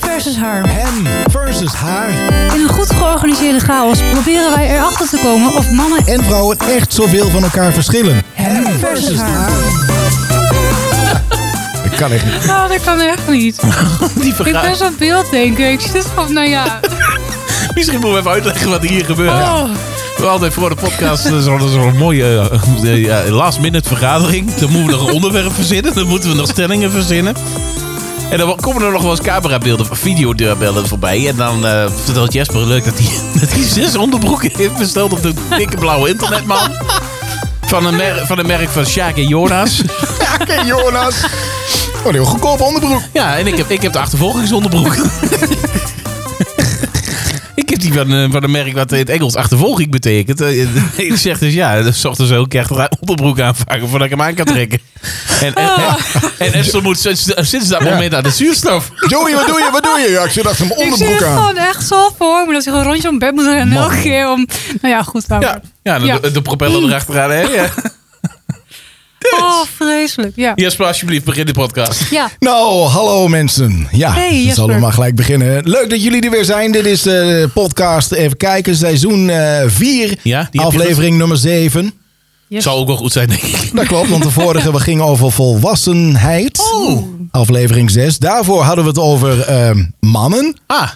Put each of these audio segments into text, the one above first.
versus haar. Hem versus haar. In een goed georganiseerde chaos proberen wij erachter te komen of mannen en vrouwen echt zoveel van elkaar verschillen. Hem versus haar. Dat kan echt niet. Oh, dat kan echt niet. Die Ik verga- ben zo'n beeld denken. Ik zit van, nou ja. Misschien moeten we even uitleggen wat hier gebeurt. Oh. We hadden voor de podcast eh, zo'n zo'n mooie eh, eh, last minute vergadering. Dan moeten we nog een onderwerp verzinnen. Dan moeten we nog stellingen verzinnen. En dan komen er nog wel eens camerabeelden, videodeurbellen voorbij. En dan eh, vertelt Jesper leuk dat hij, dat hij zes onderbroeken heeft besteld op de dikke blauwe internetman. Van een, mer- van een merk van Sjaak en Jonas. Ja, oké, Jonas. Oh, een heel goedkoop onderbroek. Ja, en ik heb, ik heb de achtervolgingsonderbroek. ik heb die van, eh, van een merk wat in het Engels achtervolging betekent. Eh, ik zeg dus ja, dus 's ochtends ook echt een onderbroek aanvragen voordat ik hem aan kan trekken. En, en, en Esther moet sinds, sinds dat moment aan de zuurstof. Joey, wat doe je? Wat doe je? Ja, ik zit achter mijn Ik zie onderbroek het aan. gewoon echt zo voor me. Dat je gewoon rondje om bed moet rennen. Man. Elke keer om... Nou ja, goed. laat Ja, maar. ja, de, Ja. Mm. de propeller erachteraan. Hè? Ja. Oh, vreselijk. Ja. Jesper, alsjeblieft, begin de podcast. Ja. Nou, hallo mensen. Ja, Hey, we Jesper. zullen maar gelijk beginnen. Leuk dat jullie er weer zijn. Dit is eh, de podcast Even Kijken, seizoen 4, Ja, die heb je aflevering nummer 7. Yes. Zou ook wel goed zijn, denk ik. Dat klopt, want de vorige we ging over volwassenheid. Oh. Aflevering 6. Daarvoor hadden we het over ehm, mannen. Ah,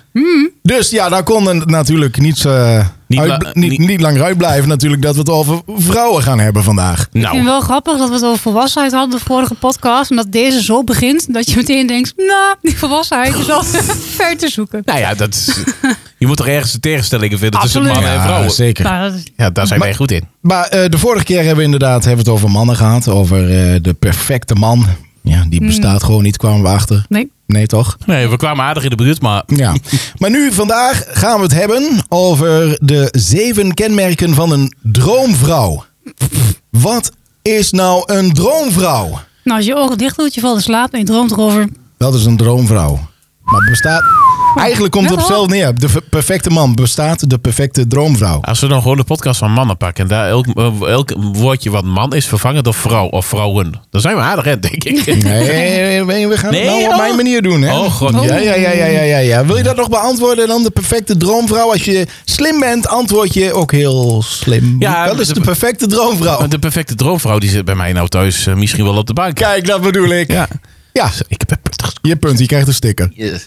Dus ja, daar kon het natuurlijk niet, eh, Niet uit- la- niet, niet- niet lang uitblijven natuurlijk dat we het over vrouwen gaan hebben vandaag. Ik vind nou. het wel grappig dat we het over volwassenheid hadden de vorige podcast. En dat deze zo begint dat je meteen denkt, nou, die volwassenheid is al ver te zoeken. Nou ja, dat is, je moet toch ergens de tegenstellingen vinden tussen Absoluut. mannen en Ja, vrouwen. zeker. Nou, dat is- Ja, daar zijn wij goed in. Maar eh, de vorige keer hebben we inderdaad hebben we het over mannen gehad. Over eh, de perfecte man. Ja, die bestaat gewoon niet, kwamen we achter. nee. Nee, toch? Nee, we kwamen aardig in de buurt, maar Ja. maar nu, vandaag gaan we het hebben over de zeven kenmerken van een droomvrouw. Wat is nou een droomvrouw? Nou, als je ogen dicht doet, je valt in slaap en je droomt erover. Dat is een droomvrouw. Maar bestaat... Eigenlijk komt het op Net al. hetzelfde neer. De perfecte man bestaat de perfecte droomvrouw. als we dan gewoon de podcast van mannen pakken en daar elk, eh, elk woordje wat man is vervangen door vrouw of vrouwen, dan zijn we aardig, hè, denk ik. Nee, nee, nee, we gaan Nee, het nou op oh. mijn manier doen. Hè? Oh, god. Ja, ja, ja, ja, ja, ja, ja. Wil je dat nog beantwoorden dan? De perfecte droomvrouw. Als je slim bent, antwoord je ook heel slim. Ja, dat is de- de perfecte droomvrouw. De perfecte droomvrouw die zit bij mij nou thuis eh, misschien wel op de bank. Kijk, dat bedoel ik. Ja. Ja, Ik heb een punt gescoord. je punt. Je krijgt een sticker.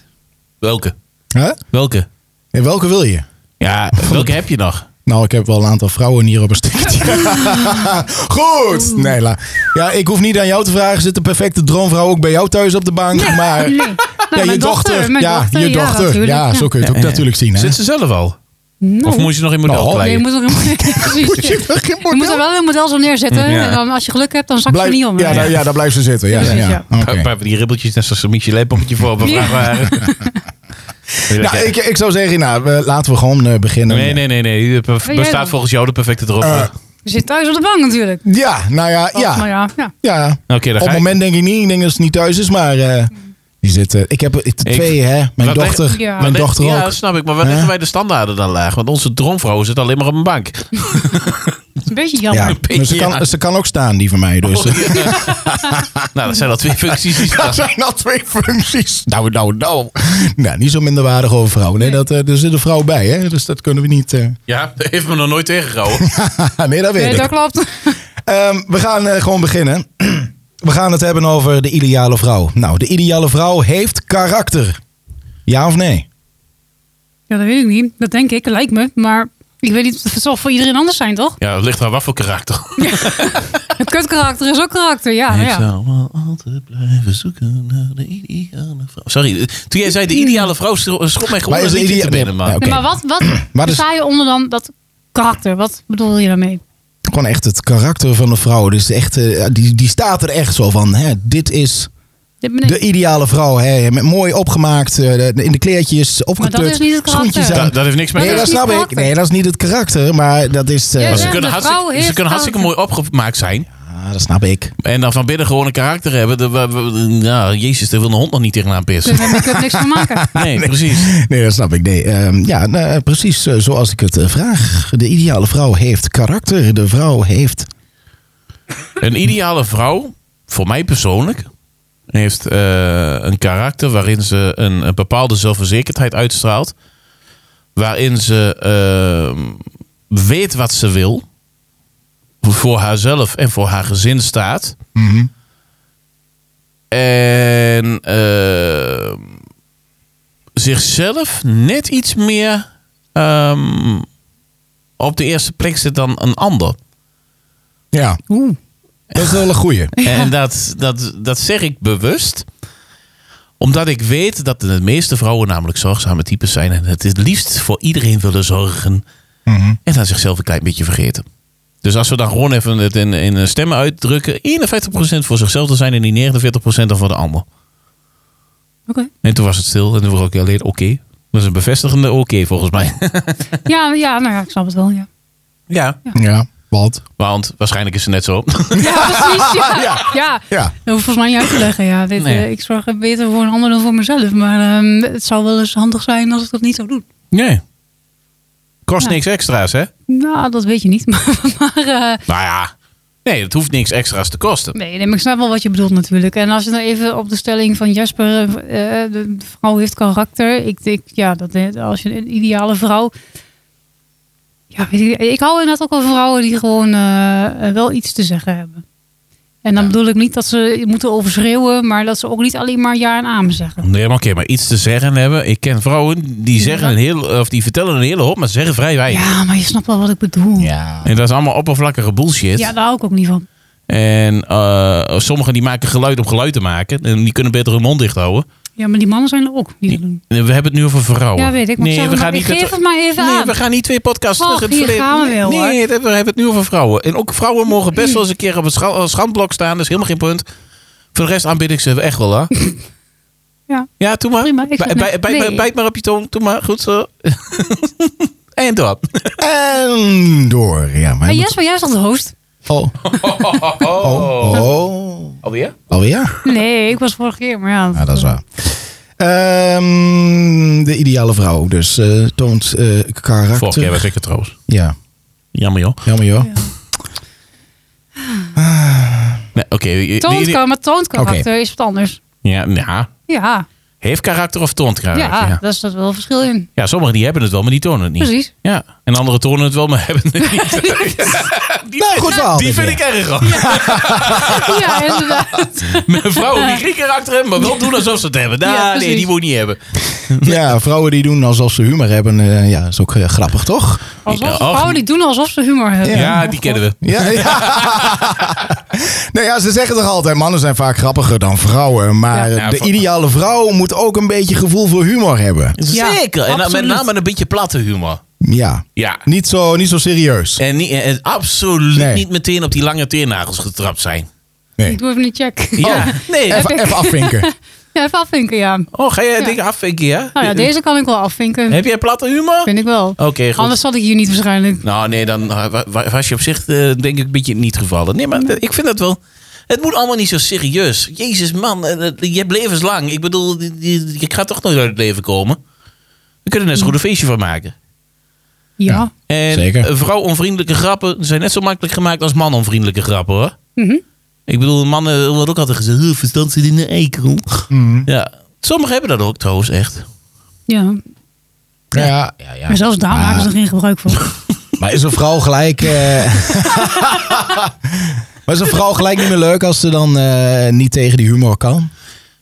Welke? Huh? Welke? En welke wil je? Ja, welke heb je nog? Nou, ik heb wel een aantal vrouwen hier op een stickertje. Goed! Nee, la. Ja, ik hoef niet aan jou te vragen. Zit de perfecte droomvrouw ook bij jou thuis op de bank? Maar Nee. Nou, ja, je mijn dochter. mijn Ja, je dochter. natuurlijk. Ja, zo kun je het ook natuurlijk zien. Hè? Zit ze zelf al? Nou. Of moet je nog in model Nou, kleien? Nee, je moet er een, precies. Je moet er wel een model zo neerzetten. Ja. En dan, als je geluk hebt, dan zakt ze Blijf- niet om. Ja, nou, ja, daar blijft ze zitten. Ja, ja, Precies, ja. Een Oké. paar- paar van die ribbeltjes, net zoals een Michelin-poppetje voor op een Ja. vrachtwagen. Nou, ik, ik zou zeggen, nou, we- laten we gewoon eh, beginnen. Nee, nee, nee. nee. Er jij Bestaat dan? volgens jou de perfecte droomvrouw? Eh, Je zit thuis op de bank natuurlijk. Ja, nou ja, Of, nou ja. ja, ja. ja. Oké, dan Op het ga ik. moment denk ik niet. Ik denk dat ze niet thuis is, maar eh, die zitten. ik heb er- ik- twee, hè. Mijn Wat dochter, denk- Ja. mijn Wat denk- dochter Ja, ook. dat snap ik. Maar waar Hè? leggen wij de standaarden dan laag? Want onze droomvrouw zit alleen maar op een bank. Het is een beetje Ja, jammer. maar beetje, ze, ja. kan, ze kan ook staan, die van mij. Dus. nou, dat zijn al twee functies. die ze- Dat zijn al twee functies. Nou, nou, nou. Nou, niet zo minderwaardig over vrouwen. Nee, dat, eh, er zit een vrouw bij, hè. Dus dat kunnen we niet... eh, Ja, dat heeft me nog nooit tegengehouden. nee, dat weet Nee, ik. dat klopt. Ehm, we gaan eh, gewoon beginnen. We gaan het hebben over de ideale vrouw. Nou, de ideale vrouw heeft karakter. Ja of nee? Ja, dat weet ik niet. Dat denk ik, lijkt me. Maar ik weet niet, het zal voor iedereen anders zijn, toch? Ja, het ligt aan wat voor karakter. Een kutkarakter is ook karakter, ja. Ik ja. zou wel altijd blijven zoeken naar de ideale vrouw. Sorry, eh, toen jij zei de ideale vrouw, scho- schrok mij gewoon Maar is een de liedje te idea- binnen, man. nee, oké. Nee, maar wat, wat Maar dus- sta je onder dan dat karakter? Wat bedoel je daarmee? Gewoon echt het karakter van de vrouw. Dus echt, eh, die, die staat er echt zo van. Hè, dit is Dit ben ik. de ideale vrouw. Hè, met mooi opgemaakt, eh, in de kleertjes, opgekleurd. is niet het karakter. Schoentjes Da- aan. dat heeft niks met... nee, dat dat is niet snap ik. karakter. Nee, dat is niet het karakter. Maar dat is... eh, Ja, Maar ja. ze de kunnen, vrouw hartstikke, heeft ze kunnen hartstikke mooi opgemaakt zijn. ah, dat snap ik. En dan van binnen gewoon een karakter hebben. De, we- we- ja, jezus, daar wil een hond nog niet tegenaan pissen. Daar kan ik niks van maken. Nee, precies. Nee, dat snap ik. Nee, ehm, ja, nou, eh, precies eh, zoals ik het eh, vraag. De ideale vrouw heeft karakter. De vrouw heeft... Een ideale vrouw, voor mij persoonlijk, heeft eh, een karakter waarin ze een, een bepaalde zelfverzekerdheid uitstraalt. Waarin ze eh, weet wat ze wil. Voor haarzelf en voor haar gezin staat. Mhm. En eh, zichzelf net iets meer ehm, op de eerste plek zit dan een ander. Ja, Oeh. dat is wel een goeie. En dat, dat, dat zeg ik bewust omdat ik weet dat de meeste vrouwen namelijk zorgzame types zijn en het het liefst voor iedereen willen zorgen Mhm. en dan zichzelf een klein beetje vergeten. Dus als we dan gewoon even het in, in stemmen uitdrukken, 51% voor zichzelf te zijn en die 49% dan voor de ander. Oké. En toen was het stil en toen vroeg ik alleen oké. Dat is een bevestigende oké volgens mij. Ja, ja, nou ja, ik snap het wel. Ja, Ja. Ja, wat? Want waarschijnlijk is ze net zo. ja precies. Ja. ja. Ja. Dat hoeft volgens mij niet uit te leggen. Ja. Dit, Nee. eh, ik zorg er beter voor een ander dan voor mezelf. Maar ehm, het zou wel eens handig zijn als ik dat niet zou doen. Nee. Kost Ja. niks extra's, hè? Nou, dat weet je niet. Maar, maar, eh, Nou ja. Nee, het hoeft niks extra's te kosten. nee, nee, maar ik snap wel wat je bedoelt natuurlijk. En als je dan even op de stelling van Jasper, eh, eh, de vrouw heeft karakter. Ik denk, ja, dat, eh, als je een ideale vrouw... Ja, weet ik, ik hou inderdaad ook wel van vrouwen die gewoon eh, eh, wel iets te zeggen hebben. En dan bedoel ik niet dat ze moeten overschreeuwen, maar dat ze ook niet alleen maar ja en amen zeggen. Nee, maar oké, maar iets te zeggen hebben. Ik ken vrouwen die, zeggen een heel, of die vertellen een hele hoop, maar zeggen vrij weinig. Ja, maar je snapt wel wat ik bedoel. Ja. En dat is allemaal oppervlakkige bullshit. Ja, daar hou ik ook niet van. En eh, sommigen die maken geluid om geluid te maken. En die kunnen beter hun mond dicht houden. Ja, maar die mannen zijn er ook die dat doen. En We hebben het nu over vrouwen. Ja, weet ik. Maar oh. Nee, ik zeg we het gaan maar, niet geef het- het maar even Nee, aan. we gaan niet twee podcasts Och, terug in het hier verleden. gaan we wel, hoor. nee, dat- we hebben het nu over vrouwen. En ook vrouwen mogen best wel eens een keer op het scha- schandblok staan. Dat is helemaal geen punt. Voor de rest aanbid ik ze echt wel, hè? Ja. Ja, doe maar. Prima, ik vind Bij- bij- het- bij- nee. bij- Bijt maar op je tong. Doe maar. Goed zo. en door. En door. Ja, maar Maar Jesper, jij is toch de host? Oh. Oh. oh. Alweer? Alweer? Nee, ik was vorige keer, maar ja. Ah, Ja, dat is waar. Ehm, de ideale vrouw dus eh, toont eh, karakter. Vorige keer was ik het trouwens. Ja, Jammer, joh. jammer joh. Ja. Nee, Oké. die- Toont, die- die- ka- maar toont karakter is wat anders. Ja, nou, Ja, heeft karakter of toont ja, karakter. Ah, Ja. daar staat wel verschil in. Ja, sommigen die hebben het wel, maar die tonen het niet. Precies. Ja. En anderen tonen het wel, maar hebben het niet. Die, Nou, goed verhaal die dit vind weer. ik erg. hoor. Ja, inderdaad. Mijn vrouwen die geen karakter hebben, maar wel doen alsof ze het hebben. Nou, Ja, nee, precies. die moet je niet hebben. Ja, vrouwen die doen alsof ze humor hebben, eh, ja, is ook eh, grappig toch? Alsof Ja, de och. vrouwen die doen alsof ze humor hebben. oh. Ja, die kennen we. Ja, ja. nou ja, ze zeggen toch altijd, mannen zijn vaak grappiger dan vrouwen. Maar Ja, de voor- ideale vrouw moet ook een beetje gevoel voor humor hebben. Ja, Zeker. En dan met absoluut. name een beetje platte humor. Ja, Ja. niet zo, niet zo serieus. En, niet, en absoluut Nee. niet meteen op die lange teernagels getrapt zijn. Ik doe even een check. Ja. Nee. Even, even afvinken. Ja, even afvinken, ja. Oh, ga jij Ja. dingen afvinken, ja? Nou ja, deze kan ik wel afvinken. Heb Oh, jij platte humor? Vind ik wel. Oké, goed. Anders zat ik hier niet waarschijnlijk. Nou, nee, dan eh, wa- wa- was je op zich eh, denk ik een beetje niet gevallen. Nee, maar eh, ik vind dat wel. Het moet allemaal niet zo serieus. Jezus, man, eh, eh, je hebt levenslang. Ik bedoel, je- je je gaat toch nooit uit het leven komen. We kunnen er net zo goed een feestje van maken. Ja. Ja. En Zeker. eh, vrouw-onvriendelijke grappen zijn net zo makkelijk gemaakt als man-onvriendelijke grappen, hoor. Mhm. Ik bedoel, mannen wordt ook altijd gezegd, "Eh, verstand zit in de eikel. Mhm. Ja, sommigen hebben dat ook trouwens, echt. ja. Ja, ja, ja. Maar zelfs Ah. daar maken ze er geen gebruik van. Maar is een vrouw gelijk. eh, maar is een vrouw gelijk niet meer leuk als ze dan eh, niet tegen die humor kan?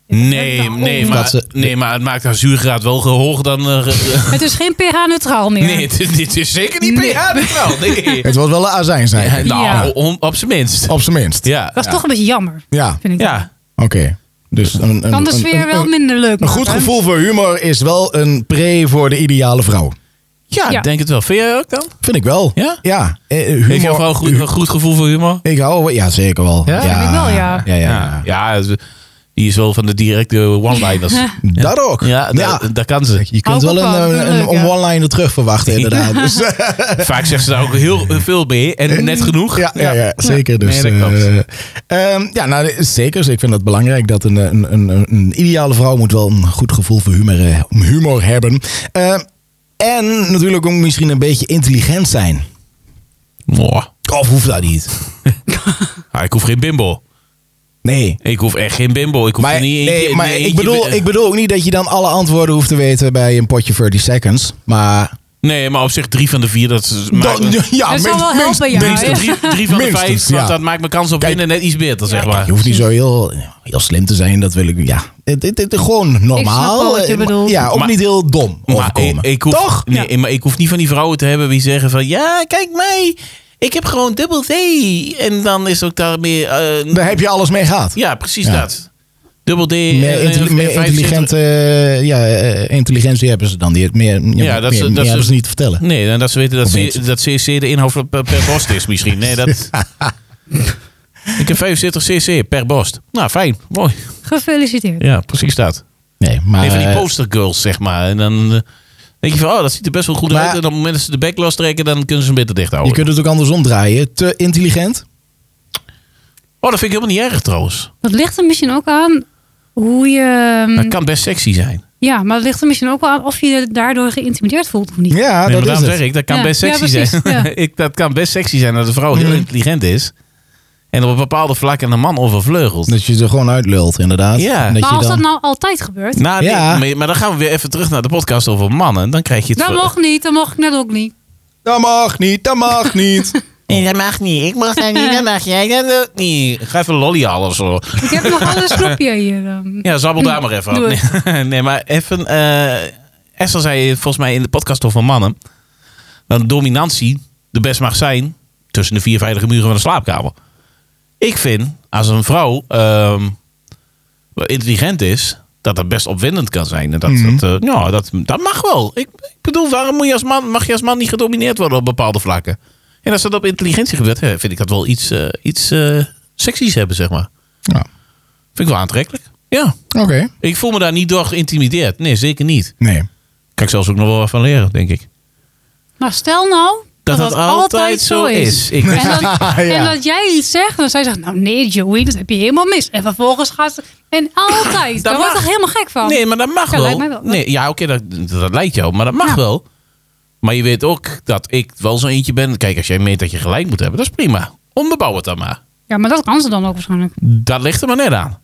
Nee, nee, Dat maar, ze- nee, maar het maakt haar zuurgraad wel hoger dan... eh, ge- Het is geen pH-neutraal meer. Nee, het is, het is zeker niet pH-neutraal. Nee. Het wordt wel een azijn zijn. Ja, nou, Ja. on- op zijn minst. Op zijn minst. Ja. Dat is toch een beetje jammer, Ja, vind ik. Ja. oké. Dus een, een, Kan de een- sfeer een- wel een- minder leuk Een goed maken. gevoel voor humor is wel een pre voor de ideale vrouw. Ja, ik Ja. denk het wel. Vind jij ook dan? Vind ik wel. Ja? Ja. eh, Heeft jouw humor, vrouw goed, een goed gevoel voor humor? Ik hou, ja zeker wel. Ja? Vind ik wel, ja. Ja, ja, ja. Ja, ja, die is wel van de directe one-liners. Dat ook. Ja, daar daar kan ze. Je kunt Hou wel ik ook wel. een, een, een Leuk, ja. one-liner terug verwachten, inderdaad. Dus, Vaak zegt ze daar ook heel veel mee. En net genoeg. ja, ja, ja, zeker. Nee, Dus, dat klopt. eh, ehm, ja, nou, dat is zeker. Ik vind dat belangrijk. Dat een, een, een, een ideale vrouw moet wel een goed gevoel voor humor, eh, humor hebben. Ehm, en natuurlijk ook misschien een beetje intelligent zijn. Mwah. Of hoeft dat niet? Ah, ik hoef geen bimbo. Nee. Ik hoef echt geen bimbo. Ik hoef Maar, er niet nee, eentje- maar nee, ik, eentje- bedoel, ik bedoel ook niet dat je dan alle antwoorden hoeft te weten bij een potje 30 seconds. Maar. Nee, maar op zich drie van de vier, dat is... maakt- ja, Dat zal wel helpen, ja. minstens drie, drie van de Minstens, vijf, want ja. dat maakt mijn kans op Kijk. winnen net iets beter, zeg maar. Je hoeft niet zo heel, heel slim te zijn, dat wil ik. Ja, het, het, het- gewoon normaal. wat je Eh, bedoelt. Ja, ook Maar- niet heel dom Maar ik, overkomen. ik hoef, Toch? Nee, maar ik hoef niet van die vrouwen te hebben die zeggen van... Ja, kijk mij, ik heb gewoon dubbel D. En dan is ook daarmee... eh Daar heb je alles mee gehad. ja, precies Ja. dat. Dubbel D. Meer, eh, intelli- eh, meer 75. intelligente, eh, ja, eh, intelligentie hebben ze dan. Die, meer, ja, Ja, dat meer- ze- meer dat ze- hebben ze niet te vertellen. Nee, dan dat ze weten dat, Of C- niet. dat CC de inhoud per, per borst is misschien. Nee, dat... ik heb 75 CC per borst. Nou, fijn. Mooi. Gefeliciteerd. Ja, precies dat. Nee, maar, Een van die eh, postergirls, zeg maar. En dan eh, denk je van, oh, dat ziet er best wel goed Maar- uit. En op het moment dat ze de bek lostrekken, dan kunnen ze hem beter dicht je houden. kunt het ook andersom draaien. Te intelligent? Oh, dat vind ik helemaal niet erg trouwens. Dat ligt er misschien ook aan hoe je... ehm, Dat kan best sexy zijn. Ja, maar het ligt er misschien ook wel aan of je je daardoor geïntimideerd voelt of niet. Ja, nee, maar Ah, dat is daarom het. zeg ik, dat kan Ja, best ja, sexy precies, zijn. ja. ik, dat kan best sexy zijn dat een vrouw heel Mhm. intelligent is. En op een bepaalde vlak een man overvleugelt. Dat je er gewoon uitlult, inderdaad. Ja. En Dat maar je als dan... dat nou altijd gebeurt, Nou, nee, Ja. maar- maar dan gaan we weer even terug naar de podcast over mannen. Dan krijg je het... dat ver- mag niet, dat mag ik net ook niet. Dat mag niet, dat mag niet. Nee, dat mag niet. Ik mag dat niet, dat mag jij dat ook niet. Oh. Ga even lolly halen of zo. Ik heb nog wel een snoepje hier. ehm. Ja, zabbel daar maar even. Doe af. Nee, nee, maar even... eh Esther zei volgens mij in de podcast over mannen... dat dominantie de best mag zijn... tussen de vier veilige muren van de slaapkamer. Ik vind, als een vrouw ehm, wel intelligent is... dat dat best opwindend kan zijn. En dat, dat, eh, ja, dat, dat mag wel. Ik, ik bedoel, waarom moet je als man, mag je als man niet gedomineerd worden op bepaalde vlakken? En als dat op intelligentie gebeurt... hè, vind ik dat wel iets, eh iets eh, seksies hebben, zeg maar. Ja, Vind ik wel aantrekkelijk. Ja. Oké. Ik voel me daar niet door geïntimideerd. Nee, zeker niet. Nee. Kan ik zelfs ook nog wel wat van leren, denk ik. Maar stel nou Dat dat altijd zo is. Ik- En, dat, Ja. en dat jij iets zegt, en zij zegt, nou nee Joey, dat heb je helemaal mis. En vervolgens gaat ze, en altijd, daar mag. wordt toch helemaal gek van. Nee, maar dat mag Ja, wel. lijkt mij wel. Nee, ja, oké, dat, dat lijkt jou. Maar dat mag Ja. wel. Maar je weet ook dat ik wel zo eentje ben. Kijk, als jij meent dat je gelijk moet hebben, dat is prima. Onderbouw het dan maar. Ja, maar dat kan ze dan ook waarschijnlijk. Dat ligt er maar net aan.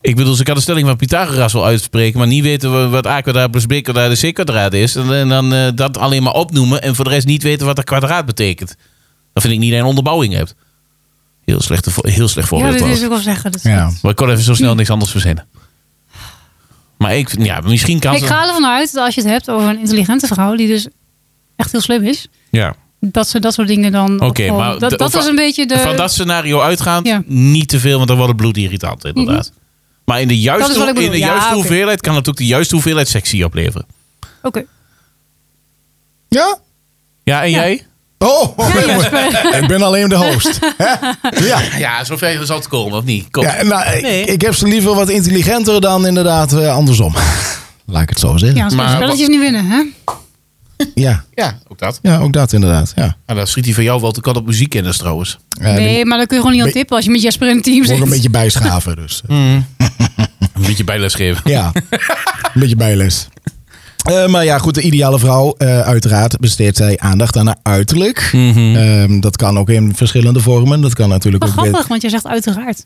Ik bedoel, ze kan de stelling van Pythagoras wel uitspreken, maar niet weten wa- wat a kwadraat plus b kwadraat en c kwadraat is. En, en dan eh, dat alleen maar opnoemen en voor de rest niet weten wat dat kwadraat betekent. Dat vind ik niet dat je een onderbouwing hebt. Heel, slechte, vo- heel slecht ja, voorbeeld. dat trouwens. is ook wel zeggen. dus dat is Ja. goed. Maar ik kon even zo snel niks anders verzinnen. Maar ik, ja, misschien kan Ik ze... ga ervan uit dat als je het hebt over een intelligente vrouw, die dus echt heel slim is, Ja. dat ze dat soort dingen dan... Oké, opvallen. maar de- Dat, dat van- is een beetje de... Van dat scenario uitgaand, Ja. Mhm. niet te veel, want dan wordt het bloedirritant inderdaad. Maar in de Dat is wat juiste, ik bedoel. in de Ja, juiste oké. hoeveelheid kan het ook de juiste hoeveelheid sexy opleveren. Oké. Ja? Ja, en jij? Oh, ik ben alleen de host. Hè? ja. Ja, zover zal het komen, of niet? Kom. ja nou, ik- Nee. ik, heb ze liever wat intelligenter dan inderdaad eh, andersom. Laat ik het zo zeggen. Ja, Ja. als we Maar spelletjes niet winnen, hè? Ja. ook dat. ook dat inderdaad. Ja. Maar dan schiet hij van jou wel te kort op muziekkennis trouwens. Eh, die nee, maar dan kun je gewoon niet aan Be- tippen als je met Jesper in het team moet ik zit. ook een beetje bijschaven. Dus. Een beetje bijles geven. Ja, een beetje bijles. Eh, maar ja, goed, de ideale vrouw, eh, uiteraard besteedt zij aandacht aan haar uiterlijk. Ehm, dat kan ook in verschillende vormen. Dat kan natuurlijk Maar ook... grappig, want je zegt uiteraard.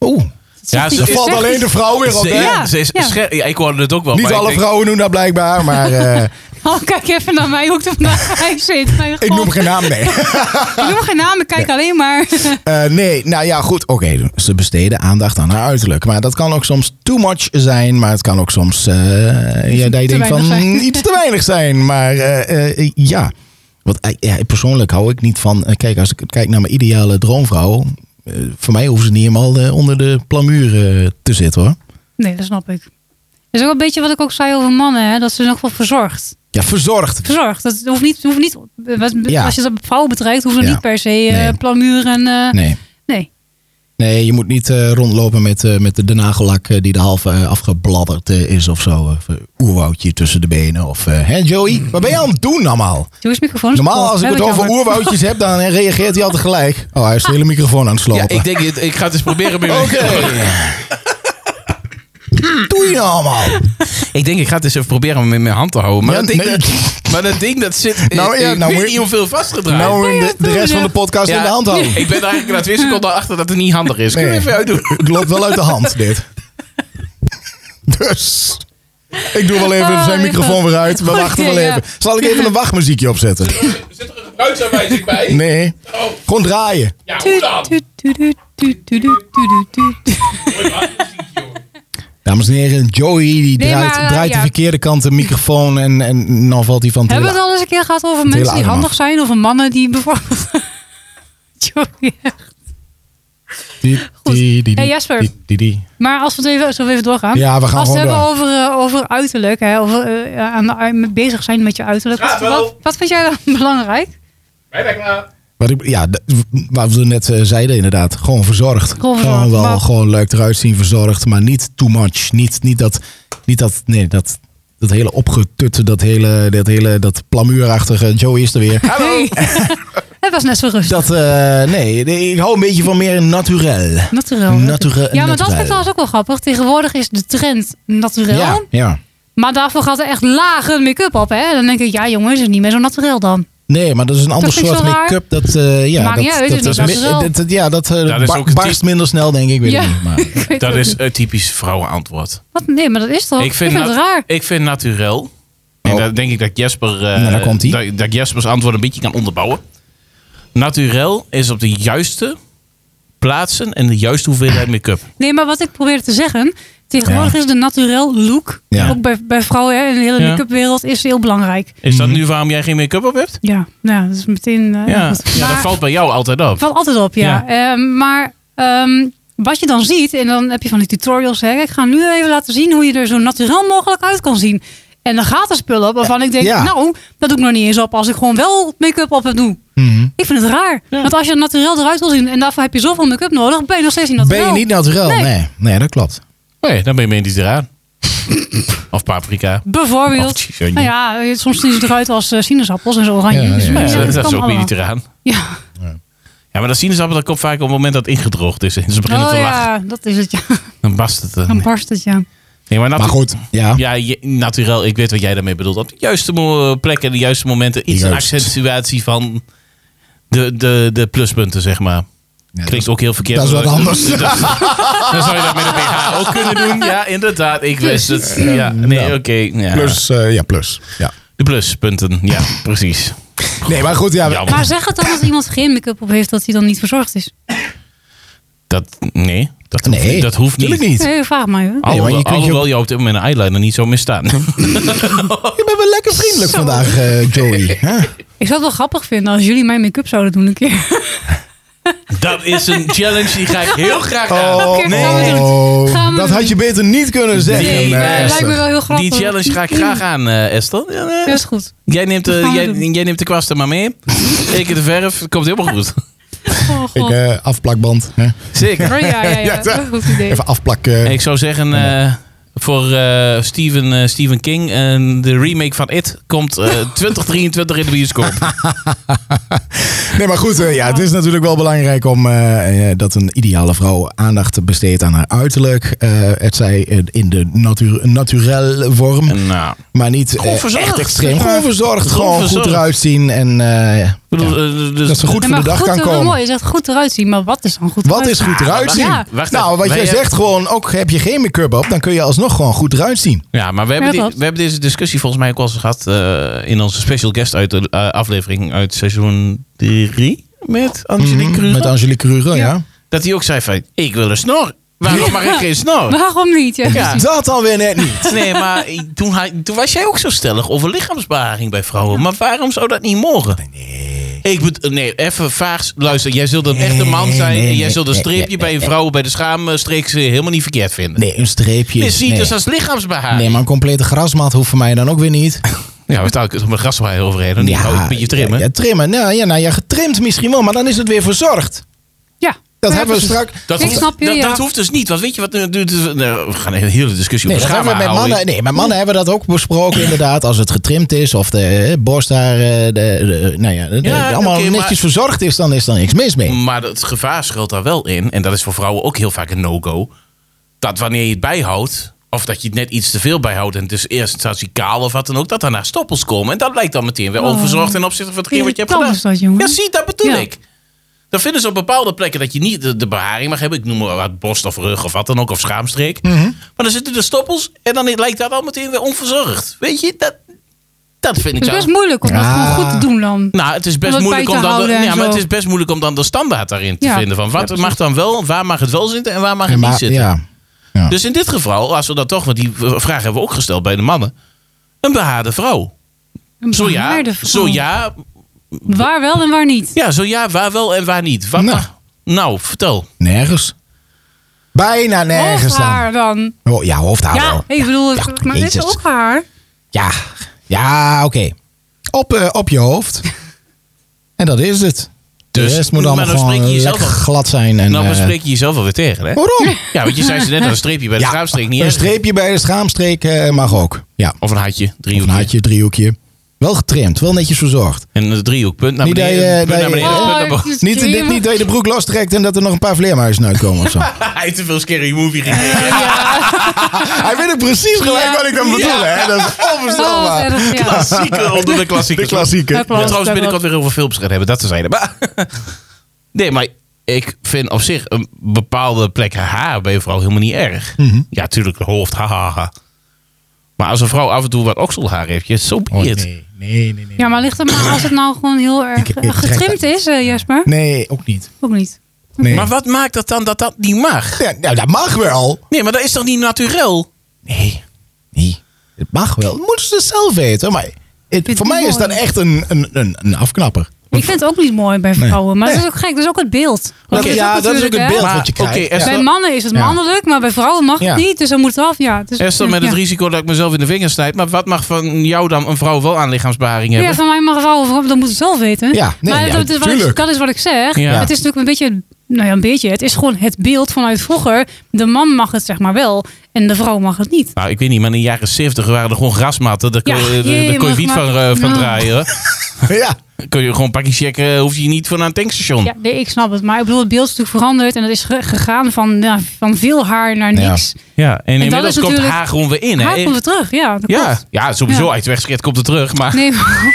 Oeh, Dat zegt Ja, ze niet- er Je valt zegt alleen niet- de vrouw weer op, Ze- hè? Ja, ze is ja. scher- ja, ik hoorde het ook wel. Niet maar ik alle denk- vrouwen doen dat blijkbaar, maar eh, Oh, kijk even naar mij hoe ik er vandaag bij zit. Mijn ik God. noem geen naam, nee. Ik noem geen naam, ik kijk alleen maar. Eh, nee, nou ja, goed. Oké, ze besteden aandacht aan haar uiterlijk. Maar dat kan ook soms too much zijn. Maar het kan ook soms eh, ja, dat je denkt van mm, weinig zijn. iets te weinig zijn. Maar eh, eh, ja, want eh, ja, persoonlijk hou ik niet van... eh, kijk, als ik kijk naar mijn ideale droomvrouw... eh, voor mij hoeven ze niet helemaal eh, onder de plamuur eh, te zitten hoor. Nee, dat snap ik. Dat is ook een beetje wat ik ook zei over mannen, hè? dat ze nog wel verzorgd. Ja, verzorgd. Verzorgd, dat hoeft niet, hoeft niet wat- Ja. als je dat vrouwen betrekt, hoeft het Ja. niet per se eh Nee. plamuur en... eh, Nee. nee. Nee, je moet niet eh, rondlopen met, eh, met de, de nagellak eh, die de halve eh, afgebladderd eh, is of zo. Of eh, oerwoudje tussen de benen. Of, eh, hè Joey, Mm. wat ben je aan het doen allemaal? Joey's microfoon is Normaal kapot. als ik Heb het over jammer. oerwoudjes heb, dan eh, reageert hij altijd gelijk. Oh, hij is de hele microfoon aan het slopen. Ja, ik denk, het- ik ga het eens proberen. bij Oké. jullie. doe je nou allemaal? Ik denk, ik ga het eens even proberen om hem in mijn hand te houden. Maar, Ja, dat, ding, nee. dat, maar dat ding, dat zit Nou nou, ja, nou ja, ik moet weet je- niet hoeveel vastgedraaid. Nou, in ja, de, de doe rest je. van de podcast Ja, in de hand houden. Ik ben er eigenlijk na twee seconden achter dat het niet handig is. Kun je Nee. even uitdoen? Het loopt wel uit de hand, dit. Dus. Ik doe wel even Oh, zijn even. microfoon weer uit. We Goed wachten wel idee, ja. even. Zal ik even een wachtmuziekje opzetten? Zit er een gebruiksaanwijzing bij? Nee. Oh, Gewoon draaien. ja, Tuut, tuut, tuut, tuut, tuut, tuut, tuut, tuut, tuut. Dames en heren, Joey die Nee, draait, maar, eh, draait de ja. verkeerde kant de microfoon en, en dan valt hij van te Hebben we het al eens een keer gehad over hele mensen die arm handig af. zijn? Of mannen die bijvoorbeeld... Sorry. Goed. Hey, Jasper. Maar als we het even, zullen we even doorgaan? Ja, we gaan Als we het gewoon hebben over, eh, over uiterlijk, hè, over eh, aan, aan- bezig zijn met je uiterlijk. Ja, Wat, wel. wat, wat vind jij dan belangrijk? Wat ik, ja, d- wat we net eh, zeiden inderdaad. Gewoon verzorgd. Gewoon Gewoon verzorgd, wel maar- gewoon leuk eruit zien, verzorgd. Maar niet too much. Niet, niet dat, niet dat, nee, dat, dat hele opgetutte, dat hele, dat hele, dat plamuurachtige. Joey is er weer. Hallo. Hey. Het was net zo rustig. Dat, eh, nee, nee, ik hou een beetje van meer naturel. Naturel. Naturel. ja, maar dat vind naturel. ik trouwens ook wel grappig. Tegenwoordig is de trend naturel. Ja, ja. Maar daarvoor gaat er echt lage make-up op. Hè? Dan denk ik, ja jongens, is het niet meer zo naturel dan. Nee, maar dat is een ander vind ik soort zo raar. make-up. Dat, eh, ja, Maakt dat, niet uit, het is dat, niet mi- naturel. dat- dat- ja, dat, eh, Ja, dat is bar- ook een barst type- minder snel, denk ik. Weet Ja. ik niet, maar, Ik weet Dat het is niet. een typisch vrouwenantwoord. Wat? Nee, maar dat is toch? Ik vind, het nat- raar. Ik vind naturel. En Oh. dan denk ik dat Jesper. eh, Nou, daar komt-ie. dat, dat Jespers antwoord een beetje kan onderbouwen. Naturel is op de juiste plaatsen en de juiste hoeveelheid make-up. Nee, maar wat ik probeerde te zeggen. Tegenwoordig Ja. is de naturel look. Ja. Ook bij, bij vrouwen hè, in de hele Ja. make-up wereld is heel belangrijk. Is Mhm. dat nu waarom jij geen make-up op hebt? Ja, nou, dat is meteen. eh, Ja, goed. ja Maar- dat valt bij jou altijd op. valt altijd op, ja. Ehm, maar ehm, wat je dan ziet, en dan heb je van die tutorials. Hè, ik ga nu even laten zien hoe je er zo naturel mogelijk uit kan zien. En dan gaat er spullen op waarvan ik denk, Ja. nou, dat doe ik nog niet eens op als ik gewoon wel make-up op heb doe. Mhm. Ik vind het raar. Ja. Want als je naturel eruit wil zien en daarvoor heb je zoveel make-up nodig, ben je nog steeds niet Ben naturel. je niet naturel? Nee. Nee. nee. dat klopt. Nee, dan ben je medisch eraan. of paprika. Bijvoorbeeld. Of Oh, chichonje. Nou ja, eh, soms zien ze eruit als eh, sinaasappels en zo oranje. Ja, ja, Dus, ja. maar Ja, dat, kan is ook allemaal. mediterraan. Ja. Ja, maar dat sinaasappel dat komt vaak op het moment dat het ingedroogd is. En ze beginnen Oh te lachen. ja, Hm. dat is het. Ja. Dan barst het. eh. Dan barst het, ja. Nee, maar, Maar natu- goed, ja. Ja, je- naturel. Ik weet wat jij daarmee bedoelt. Op de juiste mo- plekken, de juiste momenten. Iets Juist. een accentuatie van de, de, de pluspunten, zeg maar. Ja, Klinkt ook heel verkeerd. dat is wat maar- anders. Dat, dan zou je dat met een BH ook kunnen doen. Ja, inderdaad. Ik wist het. Ja, nee, nou. oké. ja. Plus, eh, ja, plus. Ja. De pluspunten. Ja, precies. Nee, maar goed, ja. Jammer. Maar zeg het dan dat iemand geen make-up op heeft, dat hij dan niet verzorgd is. Dat, nee, dat, Nee, hoeft, dat hoeft niet. Tuurlijk niet. Nee, vraag maar. Hè. Nee, Alhoewel, want je kunt je alhoewel je op dit moment een eyeliner niet zo misstaan. Je bent wel lekker vriendelijk Zo. vandaag, eh, Joey. hè? Ik zou het wel grappig vinden als jullie mijn make-up zouden doen een keer. dat is een challenge die ga ik heel graag aan. Oh, Oké, gaan we doen. Gaan we dat doen. had je beter niet kunnen zeggen. Nee, eh, maar het Esther. lijkt me wel heel grappig. Die challenge ga ik graag aan, eh Esther. Ja, eh, Ja, is goed. Jij neemt, Dat eh, gaan we jij, doen. jij neemt de kwast er maar mee. ik de verf. Het komt helemaal goed. Oh, god. Ik, eh, afplakband. Hè? Zeker. ja, ja, ja, Ja, ja. ja. Goed idee. Even afplakken. Ik zou zeggen, eh, voor eh, Stephen, eh, Stephen King, en de remake van It komt eh, 2023 in de bioscoop. Nee, maar goed, eh, ja, het is natuurlijk wel belangrijk om eh, eh, dat een ideale vrouw aandacht besteedt aan haar uiterlijk. Eh, het zij eh, in de natu naturel vorm, En, nou, maar niet Gewoon eh, verzorgd. echt extreem. Gewoon verzorgd, Gewoon gewoon, verzorgd. goed eruit zien en eh, ik bedoel, ja, eh, dus- dat ze goed Ja, voor maar de dag goed, kan eh, wel komen. Mooi, je zegt goed eruit zien, maar wat is dan goed Wat eruit is zien? goed eruit zien? Ja. Wacht nou, even. wat Wij, jij eh, zegt gewoon, ook heb je geen make-up op, dan kun je alsnog gewoon goed eruit zien. Ja, maar we hebben, Ja, die- klopt. we hebben deze discussie volgens mij ook al eens gehad eh, in onze special guest uit de eh, aflevering uit seizoen 3 met Angelique Mhm, Kruger. Met Angelique Kruger, ja. Dat hij ook zei van, ik wil een snor. Waarom mag ik geen snor? Waarom niet? Ja. Ja. Dat dan weer net niet. Nee, maar toen, hij- toen was jij ook zo stellig over lichaamsbeharing bij vrouwen. Maar waarom zou dat niet mogen? Nee. Ik bedoel, nee, even vaag. Luister, jij zult een echte man Nee, zijn. nee, en jij nee, zult een nee, streepje nee, bij een vrouw bij de schaamstreek ze helemaal niet verkeerd vinden. Nee, een streepje. Nee, is- zie je nee. dus als lichaamsbeharing. nee, maar een complete grasmat hoeft voor mij dan ook weer niet. Ja, we staan op mijn graswaaier overheen. Dan Nou, hou ik een beetje trimmen. Ja, trimmen. Nou ja, nou ja, getrimd misschien wel, maar dan is het weer verzorgd. Ja. Dat Ja, hebben we precies. straks. Dat, Ik hoeft, snap je, dat, ja. dat hoeft dus niet. Want weet je wat nu doet? Nou, we gaan een hele discussie Nee, over dat schaamhaar hebben we met houden. mannen, nee, met mannen hebben we dat ook besproken inderdaad. Als het getrimd is of de eh, borst daar, eh, de, de- nou ja, de- de- Ja, allemaal oké, maar- netjes verzorgd is, dan is er niks mis mee. Maar het gevaar schuilt daar wel in. En dat is voor vrouwen ook heel vaak een no-go. Dat wanneer je het bijhoudt. Of dat je het net iets te veel bijhoudt. En dus eerst staat hij kaal of wat dan ook. Dat daarna stoppels komen. En dat blijkt dan meteen weer Oh. onverzorgd ten opzichte van hetgeen wat je hebt gedaan. Irritant is dat, jongen. Ja, zie, dat bedoel Ja. ik. Dan vinden ze op bepaalde plekken dat je niet de, de beharing mag hebben. Ik noem maar wat borst of rug of wat dan ook. Of schaamstreek. Mhm. Maar dan zitten de stoppels. En dan lijkt dat al meteen weer onverzorgd. Weet je, dat, dat vind ik Het is zo. best moeilijk om dat Ja. gewoon goed te doen dan. Nou, het is best Om dat moeilijk bij om te dan de, houden en ja, maar zo. het is best moeilijk om dan de standaard daarin te Ja. vinden. Van Ja, wat precies. mag dan wel, waar mag het wel zitten en waar mag het En niet maar, zitten. ja. Ja. Dus in dit geval, als we dat toch, want die v- vraag hebben we ook gesteld bij de mannen. Een behaarde vrouw. Een Zo ja, behaarde vrouw. zo ja, Waar wel en waar niet. ja, zo ja, waar wel en waar niet. Wat Nou. nou. nou, vertel. Nergens. Bijna nergens Of dan. haar dan. Oh, ja, of daar Ja, wel. ik bedoel, Ja, maar dit is jezus. ook haar. Ja, ja oké. Op, eh, op je hoofd. en dat is het. Dus, Dus- de rest moet allemaal maar dan gewoon spreek je jezelf lekker al- glad zijn. En, nou, dan eh, spreek je jezelf alweer tegen, hè? Waarom? Ja, want je zei ze net al, een streepje bij de Ja, schaamstreek niet een erg. streepje bij de schaamstreek eh, mag ook. Ja, Of een hartje, of een driehoekje. haartje, driehoekje. Wel getrimd, wel netjes verzorgd. En een driehoek, punt naar Niet dat beneden, je- punt dat naar je- Oh, beneden, punt naar boven. het is Niet, dit, niet dat je de broek lostrekt en dat er nog een paar vleermuizen uitkomen of zo. Hij heeft te veel scary movie gekeken. Hij weet het precies gelijk Ja. wat ik dan bedoel. Hè? Dat is Oh, wat onvoorstelbaar. erg, ja. Klassieker onder de de klassiekers. klassieke. Heb al- Ja, trouwens, dat binnenkort weer over films gaan hebben. Dat te zijn. Maar, nee, maar ik vind op zich een bepaalde plek haar bij een vrouw helemaal niet erg. Mhm. Ja, tuurlijk, de hoofd, haha. Ha, ha. Maar als een vrouw af en toe wat okselhaar heeft, je zo be Oh, it. nee, nee, nee, nee. Ja, maar ligt het maar als het nou gewoon heel erg Ik- ik eh, trek getrimd is, eh, Jasper? Nee, ook niet. Ook niet. Nee. Maar wat maakt dat dan dat dat niet mag? Ja, nou, dat mag wel. Nee, maar dat is toch niet natuurlijk? Nee, nee. Het mag wel. Moeten ze zelf weten. Maar het, het voor mij mooi. is dat echt een, een, een, een afknapper. Ik vind het ook niet mooi bij vrouwen, maar dat is ook gek. Dat is ook het beeld. Dat is ja, dat is ook het natuurlijk, hè? beeld Maar, wat je oké, krijgt. er ja. staat- Bij mannen is het Ja. mannelijk, maar bij vrouwen mag het Ja. niet. Dus dan moet het af. Ja, het is Esther, met het ja. risico dat ik mezelf in de vingers snijd. Maar wat mag van jou dan een vrouw wel aan lichaamsbeharing hebben? Ja, van mij mag vrouwen voorop, dan moet het zelf weten. Ja, nee, maar ja, dat, is wat tuurlijk. ik, dat is wat ik zeg. Ja. Het is natuurlijk een beetje, nou ja, een beetje. Het is gewoon het beeld vanuit vroeger. De man mag het zeg maar wel en de vrouw mag het niet. Nou, ik weet niet, maar in de jaren 70 waren er gewoon grasmatten. Daar kon, Ja, je- jee, daar kon je mag wiet maar- van, eh, van Nou. draaien. hoor. ja. kun je gewoon een pakje checken, hoef je niet voor naar een tankstation. Ja, nee, ik snap het. Maar ik bedoel, het beeld is natuurlijk veranderd. En dat is ge- gegaan van, ja, van veel haar naar Ja. niks. Ja, en, dat is inmiddels komt natuurlijk- haar gewoon weer in. Haar Hè? komt weer terug, ja. Dat ja, klopt. ja, sowieso. Ja. Als je het wegscheert, komt het terug. Maar Nee, maar-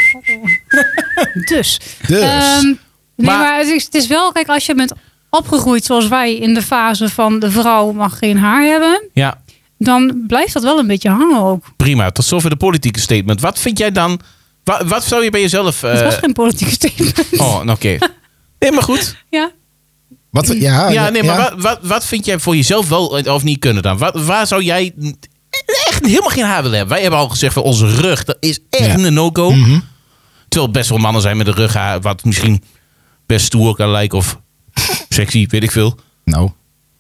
dus. Dus. Ehm, nee, Maar- maar, het, is, het is wel, kijk, als je bent opgegroeid zoals wij in de fase van de vrouw mag geen haar hebben, ja, dan blijft dat wel een beetje hangen ook. prima. Tot zover de politieke statement. Wat vind jij dan... wa- Wat, zou je bij jezelf... eh, Het was geen politieke statement. oh, nou, oké. Nee, maar goed. Ja. Wat, Ah, ja, Ja, nee, maar ja. Wat, wat, wat vind jij voor jezelf wel eh, of niet kunnen dan? Wat, waar zou jij echt helemaal geen haar willen hebben? Wij hebben al gezegd van onze rug, dat is echt Ja. een no-go. Mhm. Terwijl best wel mannen zijn met een rughaar, wat misschien best stoer kan lijken of sexy, weet ik veel. Nou,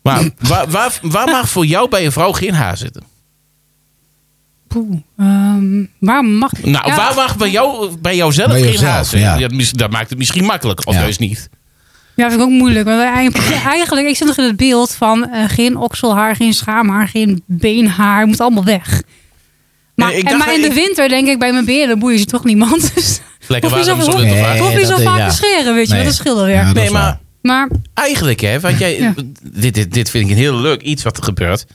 Maar waar, waar, waar mag voor jou bij een vrouw geen haar zitten? Poeh. Ehm, waar mag... Nou, Ja, waar mag bij, jou, bij jouzelf Bij geen jezelf, haar zitten? ja. Ja, mis- dat maakt het misschien makkelijk, of Ja. juist niet. Ja, vind ik ook moeilijk. Want eigenlijk, eigenlijk, ik zit nog in het beeld van eh, geen okselhaar, geen schaamhaar, geen beenhaar. moet allemaal weg. Maar, Nee, ik en, dacht maar in dat de ik- winter denk ik bij mijn beren boeien ze toch niemand. Dus Lekker Of warm, is dat- zonder te Nee. vragen. hoef je zo dat- vaak ja. te scheren, weet je Nee. wel. Dat scheelt alweer. Ja, dat Nee, is maar waar. Maar eigenlijk hè, want jij, Ja. dit, dit, dit vind ik een heel leuk iets wat er gebeurt.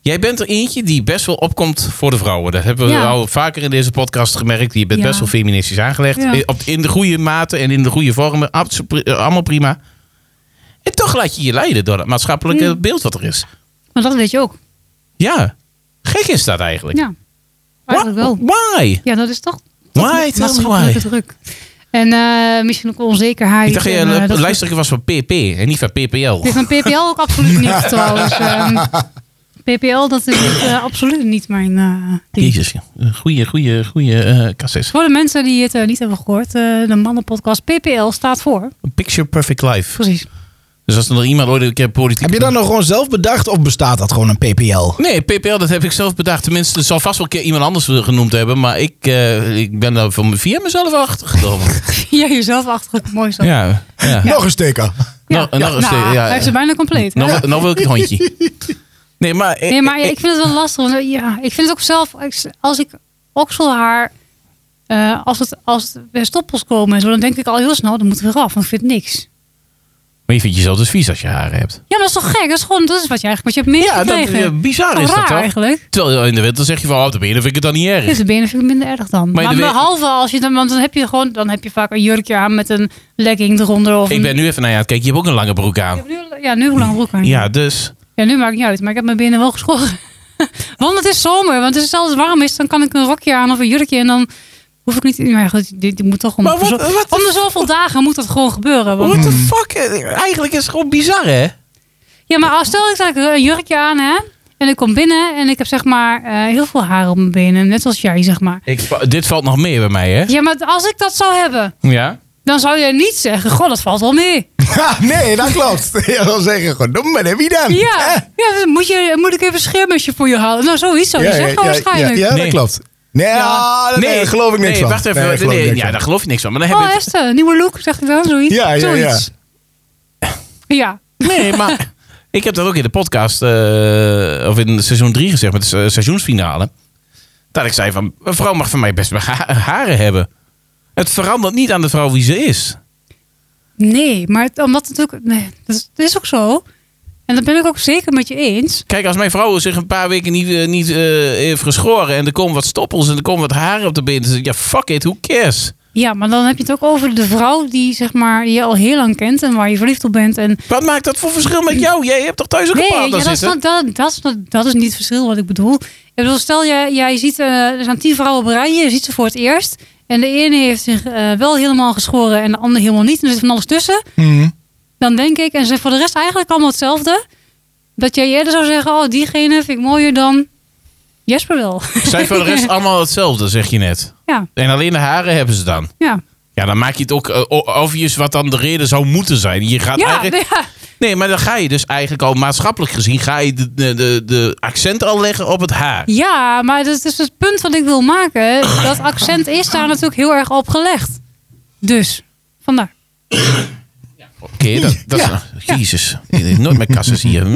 Jij bent er eentje die best wel opkomt voor de vrouwen. Dat hebben we Ja. al vaker in deze podcast gemerkt. Je bent Ja. best wel feministisch aangelegd. Ja. Op, in de goede mate en in de goede vormen. Absolu- eh, Allemaal prima. En toch laat je je leiden door dat maatschappelijke Mm. beeld wat er is. Maar dat weet je ook. Ja, gek is dat eigenlijk. Ja, Wha- eigenlijk wel. Why? Ja, dat is toch Why? Tell me why. maatschappelijke druk. En eh, misschien ook onzekerheid. Ik dacht, en, eh, je dat soort- luister was van PP en niet van PPL. Ik vind PPL ook absoluut niet trouwens. Ehm, PPL, dat is niet, eh, absoluut niet mijn eh, ding. Jezus, ja. goeie, goeie, goeie eh kasses. Voor de mensen die het eh, niet hebben gehoord, eh, de mannenpodcast PPL staat voor. Picture Perfect Life. Precies. Dus als er nog iemand ooit een keer politiek... heb je dat nou gewoon zelf bedacht of bestaat dat gewoon een PPL? Nee, PPL, dat heb ik zelf bedacht. Tenminste, er zal vast wel een keer iemand anders genoemd hebben. Maar ik, eh, ik ben daar van via mezelf achtergekomen. Ja, jezelf achter het mooiste. Ja. ja, ja. Nog een steker. Nog, nog een steek, nou, ja. hij heeft ze bijna compleet. hè? Nou, wil- nou wil ik het hondje. Nee, maar... eh, Nee, maar ja, ik vind het wel lastig. Want, eh, ja, ik vind het ook zelf, als- als ik okselhaar, eh, als, het, als het bij stoppels komen en zo, dan denk ik al heel snel, dan moet het weer af, want ik vind het niks. Maar je vindt jezelf dus vies als je haren hebt. Ja, maar dat is toch gek? Dat is gewoon dat is wat je eigenlijk wat je hebt Ja, dat, meegekregen. ja, bizar Toch is dat raar toch? eigenlijk. Terwijl in de winter zeg je van, oh, de benen vind ik het dan niet Dus erg. de benen vind ik minder erg dan. Maar Maar, in de we- behalve als je dan, want dan heb je gewoon, dan heb je vaak een jurkje aan met een legging eronder. Of Ik een- ben nu even naar je aan het kijken, je hebt ook een lange broek Ik aan. heb nu, ja, nu hoe lang broek aan. Ja, dus. Ja, nu maakt het niet uit, maar ik heb mijn benen wel geschoren. want het is zomer, want als het zelfs warm is, dan kan ik een rokje aan of een jurkje en dan hoef ik niet. Maar goed, dit dit moet toch om, Maar wat- zo- wat- om de zoveel dagen moet dat gewoon gebeuren. Want, What the Hmm. fuck? Eigenlijk is het gewoon bizar, hè? ja, maar als stel ik dat ik een jurkje aan hè, en ik kom binnen en ik heb zeg maar eh, heel veel haar op mijn benen, net als jij zeg maar. Ik, dit valt nog meer bij mij, hè? Ja, maar als ik dat zou hebben, Ja. dan zou jij niet zeggen, goh, dat valt wel mee. Ha, nee, dat klopt. Je wil zeggen, gewoon, maar heb je dan? Ja, Nou, Hè? ja dan moet, je, moet ik even een schermesje voor je halen. Nou, zoiets zou je zeggen waarschijnlijk. Ja, Nee. dat klopt. Nee, ah, dat- nee, geloof ik niks nee, van. Wacht even. Nee, Nee, geloof ik niks ja, van. daar geloof je niks van. Maar dan heb Oh, je het- Esther, nieuwe look, zeg ik dan, zoiets. Ja, ja, ja. zoiets. Ja. Nee, maar ik heb dat ook in de podcast, eh, of in seizoen 3 gezegd, met de se- seizoensfinale. Dat ik zei van, een vrouw mag van mij best wel ha- haren hebben. Het verandert niet aan de vrouw wie ze is. Nee, maar het- omdat het ook... Nee, dat is, dat is ook zo. En dat ben ik ook zeker met je eens. Kijk, als mijn vrouw zich een paar weken niet, eh, niet eh, heeft geschoren en er komen wat stoppels en er komen wat haren op de benen. dan zeg ik, Ja, fuck it, who cares? Ja, maar dan heb je het ook over de vrouw die zeg maar, die je al heel lang kent en waar je verliefd op bent. En Wat maakt dat voor verschil met jou? Jij hebt toch thuis ook een Nee, partner ja, dat, is, zitten? dan- dat, dat, is, dan- dat is niet het verschil wat ik bedoel. Ik bedoel, stel, jij, jij ziet, eh, er zijn tien vrouwen op een rij, je ziet ze voor het eerst. En de ene heeft zich eh, wel helemaal geschoren en de andere helemaal niet. En er zit van alles tussen. Mhm. Dan denk ik, en ze zijn voor de rest eigenlijk allemaal hetzelfde. Dat jij eerder zou zeggen, oh, diegene vind ik mooier dan Jesper wel. Zijn voor de rest allemaal hetzelfde, zeg je net. ja, En alleen de haren hebben ze dan. ja. Ja, dan maak je het ook eh, o- obvious wat dan de reden zou moeten zijn. Je gaat Ja, eigenlijk... ja. Nee, maar dan ga je dus eigenlijk al maatschappelijk gezien... ga je de, de, de, de accent al leggen op het haar. ja, maar dat is dus het punt wat ik wil maken. Dat accent is daar natuurlijk heel erg op gelegd. Dus, vandaar. Oké, dat, dat is... Jezus, ik heb nooit meer kassen hier.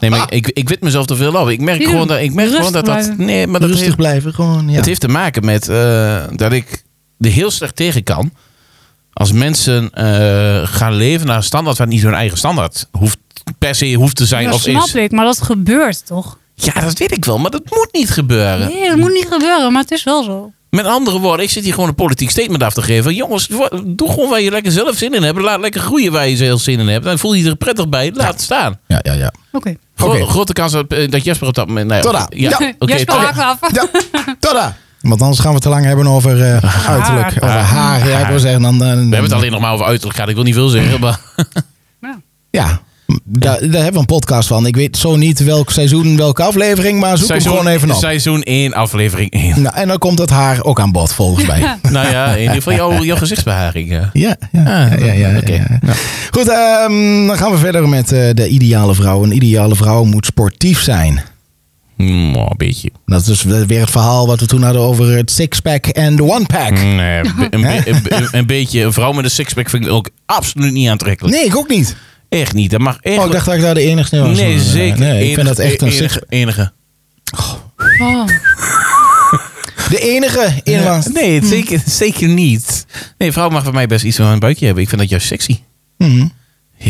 Nee, maar ik, ik wit mezelf te veel af. Ik merk Niet gewoon doen. dat... Ik merk gewoon dat, dat Rustig nee, maar dat Rustig heeft, blijven, gewoon. Ja. het heeft te maken met eh, dat ik er heel slecht tegen kan... als mensen eh, gaan leven naar een standaard... wat niet hun eigen standaard hoeft, per se hoeft te zijn Dat of snap is. ik, maar dat gebeurt toch? Ja, dat weet ik wel, maar dat moet niet gebeuren. Nee, dat moet niet gebeuren, maar het is wel zo. Met andere woorden, ik zit hier gewoon een politiek statement af te geven. Jongens, wo- doe gewoon waar je lekker zelf zin in hebt. Laat lekker groeien waar je zelf zin in hebt. Dan voel je je er prettig bij. Laat het staan. ja, ja, ja. Oké. Gro- Oké. Grote kans dat, eh, dat Jesper op dat moment... Nee, Tada. Ja, Ja. oké. Jesper tada. haakt af. Ja, tada! Want anders gaan we te lang hebben over eh, uiterlijk. Over haar. Ja, ik wil zeggen, dan, eh, We hebben het alleen nog maar over uiterlijk gehad. Ik wil niet veel zeggen, maar... Nou, Ja, daar, daar hebben we een podcast van. Ik weet zo niet welk seizoen, welke aflevering, maar zoek hem gewoon even op. seizoen 1, aflevering 1. Nou, en dan komt het haar ook aan bod, volgens mij. nou ja, in ieder geval jouw, jouw gezichtsbeharing. ja. Ja, ja, ja. Ah, ja, ja, oké. ja. Goed, ehm, dan gaan we verder met eh, de ideale vrouw. Een ideale vrouw moet sportief zijn. Mm, oh, een beetje. Dat is dus weer het verhaal wat we toen hadden over het six-pack en de one-pack. Nee, een, be- een, be- een be- een beetje. Een vrouw met een sixpack vind ik ook absoluut niet aantrekkelijk. Nee, ik ook niet. Echt niet. Dat mag echt. Oh, ik dacht dat ik daar de enigste in was. eh, Nee, zeker. Nee, ik Enige- vind dat echt een six enige. enige. oh. De enige in was. Nee, het zeker, zeker niet. Nee, vrouw mag van mij best iets van een buikje hebben. Ik vind dat juist sexy. Mhm. Heel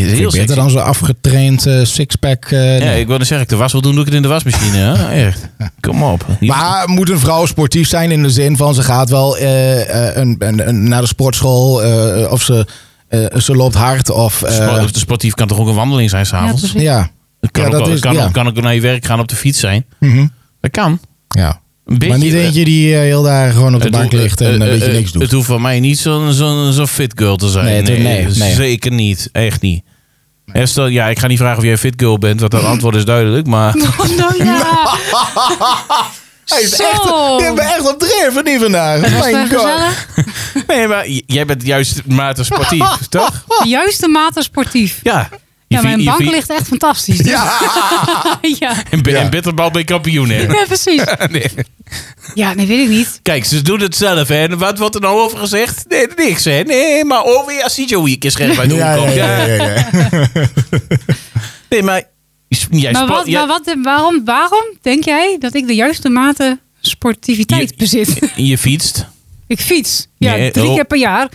Vind ik sexy. beter dan zo'n afgetraind eh, six-pack. eh, Ja, nee. ik wilde zeggen, ik de was wil doen, doe ik het in de wasmachine. hè? Echt. Kom op. Hier- Maar moet een vrouw sportief zijn in de zin van ze gaat wel eh, eh, een, een, een- naar de sportschool eh, of ze, eh, ze loopt hard of... eh, Sport- of de sportief kan toch ook een wandeling zijn s'avonds? Ja, precies. ja, Het kan, Ja, ook, dat wel- is- kan, ja. ook- kan ook naar je werk gaan op de fiets zijn. Mhm. Dat kan. ja. Een beetje, maar niet eentje die eh, heel daar gewoon op de Het bank hoeft- ligt en eh, een eh, beetje eh, niks doet. Het hoeft van mij niet zo'n zo'n zo'n fit girl te zijn. Eh, Nee, het- nee, nee. Zeker niet. Echt niet. Esther, ja, ik ga niet vragen of jij een fit girl bent, want dat antwoord is duidelijk. Maar Oh, nou ja. Hij is echt, Zo. je bent echt op dreef niet vandaag. Was Mijn het god. gezellig? Nee, maar j- jij bent juist mate sportief, toch? De Juiste mate sportief. Ja. Je Ja, vindt- mijn je bank vindt- ligt echt fantastisch. Dus- Ja. ja. En, bi- Ja. en bitterbal ben je kampioen, hè? ja, precies. Nee. Ja, nee, weet ik niet. Kijk, ze doen het zelf, hè? En wat wordt er nou over gezegd? Nee, niks, hè? Nee, maar over ja, CJ Week is scherp bij de Ja, hoek ja, komt. ja, Ja. ja, ja. Nee, maar... s- Jij Maar, sport- wat, jij- maar wat, waarom, waarom denk jij dat ik de juiste mate sportiviteit Je- bezit? Je fietst. Ik fiets. Ja, Nee, drie oh. keer per jaar.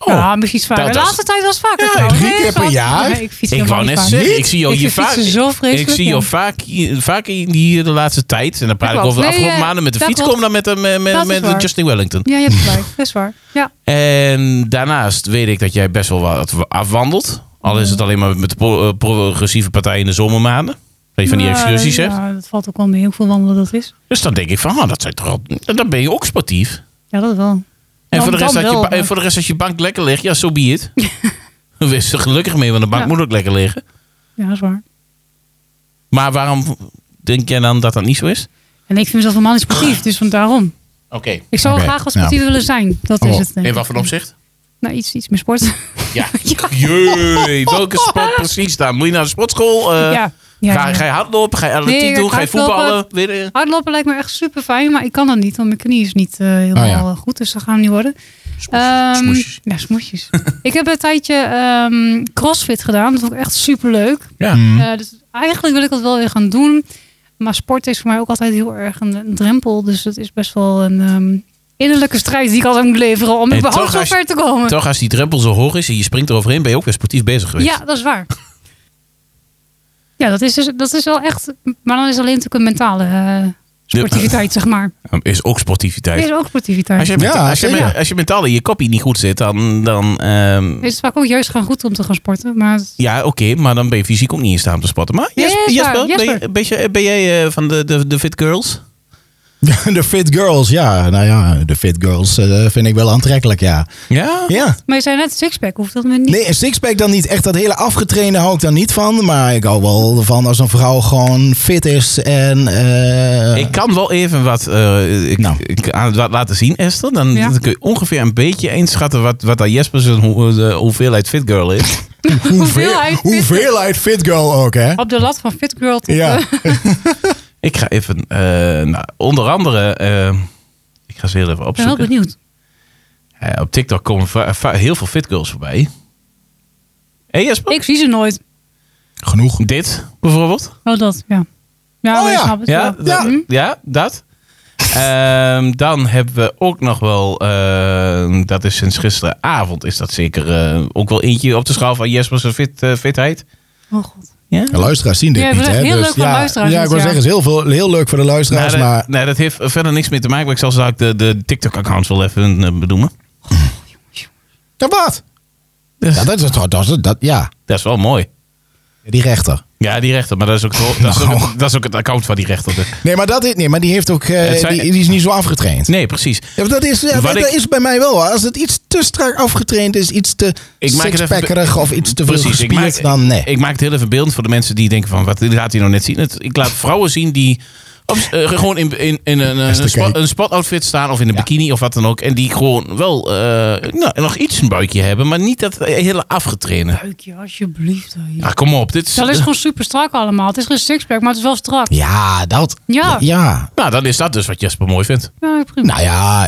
Oh, ja, misschien zwaarder. dat- De laatste tijd was het vaker. Ja, trouwens. drie Nee, keer per valt- jaar. Nee, ik fiets Ik wou helemaal net niet zeggen, vaak. ik zie jou Ik hier fiets vaak. er zo Ik vreselijk zie jou in. vaak, hier- vaak in hier de laatste tijd. En dan praat Dat ik klopt. over de Nee, afgelopen ja, maanden met de dat fiets. klopt. Kom dan met, eh, met, met, Dat is met waar. Justin Wellington. Ja, je hebt gelijk. Dat is waar. Ja. En daarnaast weet ik dat jij best wel wat afwandelt. Al is het alleen maar met de pro- eh, progressieve partij in de zomermaanden. Weet je van die Nou, excursies hebt. Ja, dat valt ook wel mee hoe veel wandelen dat is. Dus dan denk ik van, oh, dat zijn toch al, dan ben je ook sportief. Ja, dat wel. En Dan- voor de, rest dan dat je, wel, ba- en maar- voor de rest als je bank lekker ligt, ja, zo so be it. Dan Wees er gelukkig mee, want de bank Ja. moet ook lekker liggen. Ja, dat is waar. Maar waarom denk jij dan dat dat niet zo is? En ik vind mezelf een man sportief, dus van daarom. Oké. Ik zou Oké, graag wat ja. sportief willen zijn. Dat is Oh, het. denk In ik. wat Eh, voor opzicht? Nou, iets, iets meer sport. Ja. Jee, welke sport precies dan? Moet je naar de sportschool? Eh, ja. ja, ga, ja. ga je hardlopen? Ga je atletiek Nee, ik doen? ga Ga je hardlopen. voetballen? Weet je- Hardlopen lijkt me echt super fijn, maar ik kan dat niet, want mijn knie is niet eh, helemaal ja. eh, goed. Dus dat gaan we niet worden. Ehm, Oh smoesjes. Ja, smoesjes. ik heb een tijdje ehm, crossfit gedaan. Dat vond ik echt super leuk. Ja. dus eigenlijk wil ik dat wel weer gaan doen. Maar sport is voor mij ook altijd heel erg een, een drempel. Dus het is best wel een ehm, innerlijke strijd die ik altijd moet leveren om En überhaupt toch zo als- ver te komen. Toch als die drempel zo hoog is en je springt eroverheen, ben je ook weer sportief bezig geweest. Ja, dat is waar. ja, dat is, dus, dat is wel echt. Maar dan is alleen natuurlijk een mentale eh, sportiviteit, zeg maar. Is ook sportiviteit. Is ook sportiviteit. Als je, menta- Ja, als, je, zeker. me- als je mentaal in je kopie niet goed zit, dan. dan ehm, Het is vaak ook juist gaan goed om te gaan sporten. Maar ja, oké, maar dan ben je fysiek ook niet in staat om te sporten. Maar Nee, Jesper, is waar, Jesper, ben, je, Jesper. ben, je- ben jij eh, van de, de, de fit girls? De fit girls, ja. Nou ja, de fit girls eh, vind ik wel aantrekkelijk, ja. Ja? Ja. Maar je zei net sixpack, hoeft dat me niet. Nee, een sixpack dan niet. Echt dat hele afgetrainde hou ik dan niet van. Maar ik hou wel van als een vrouw gewoon fit is en... eh, Ik kan wel even wat, eh, ik, Nou. ik aan- wat laten zien, Esther. Dan, Ja. dan kun je ongeveer een beetje inschatten wat, wat daar Jesper zijn hoe- de hoeveelheid fit girl is. hoeveelheid fit- hoeveelheid fit girl ook, hè? Op de lat van Fit Girl. tot, Ja. eh, ik ga even, eh, nou, onder andere, eh, ik ga ze heel even ik ben wel opzoeken. benieuwd. Eh, op TikTok komen va- va- heel veel fit girls voorbij. hey Jesper? Ik zie ze nooit. Genoeg. Dit bijvoorbeeld. Oh, dat, ja. Ja, Oh, maar ik ja. snap het Ja, wel. ja. Hm? ja dat. Ehm, dan hebben we ook nog wel, ehm, dat is sinds gisteravond, is dat zeker eh, ook wel eentje op de schaal van Jesper's fit, eh, fitheid. Oh god. Ja? De luisteraars zien dit Ja, niet, het hè? dus is heel leuk voor de luisteraars Ja, ik dit wil jaar. zeggen, het is heel, veel, heel leuk voor de luisteraars, Nou, dat, maar... nou, dat heeft verder niks mee te maken, maar ik zal zo de, de TikTok-account wel even eh, benoemen. Oh, Ja, wat? Dus- Ja, dat is toch... Dat, is- dat, ja, Dat is wel mooi. die rechter. Ja, die rechter, maar dat is ook, het- dat is ook, het- dat is ook het account van die rechter. dus. Nee, maar, dat, is- nee, maar die, heeft ook, eh, Het zijn- die, die is niet zo afgetraind. Nee, precies. Ja, maar dat is, ja, Wat dat ik- is bij mij wel. hoor. Als het iets te strak afgetraind is, iets te Ik maak het even- sixpackerig of iets te veel Precies, ik gespierd, maak, dan nee. ik maak het heel even beeld voor de mensen die denken van, wat laat hij nou net zien? Het- ik laat vrouwen zien die op- eh, gewoon in, in, in een, eh, Beste een, spot, kijk. een spotoutfit staan of in een Ja. bikini of wat dan ook. En die gewoon wel eh, nou, nog iets een buikje hebben, maar niet dat hele afgetrainde. Buikje, alsjeblieft. hè. Ah, kom op. Dit is, Dat is gewoon super strak allemaal. Het is geen sixpack, maar het is wel strak. ja, dat. Ja. ja. nou, dan is dat dus wat Jesper mooi vindt. Ja, prima. Nou ja,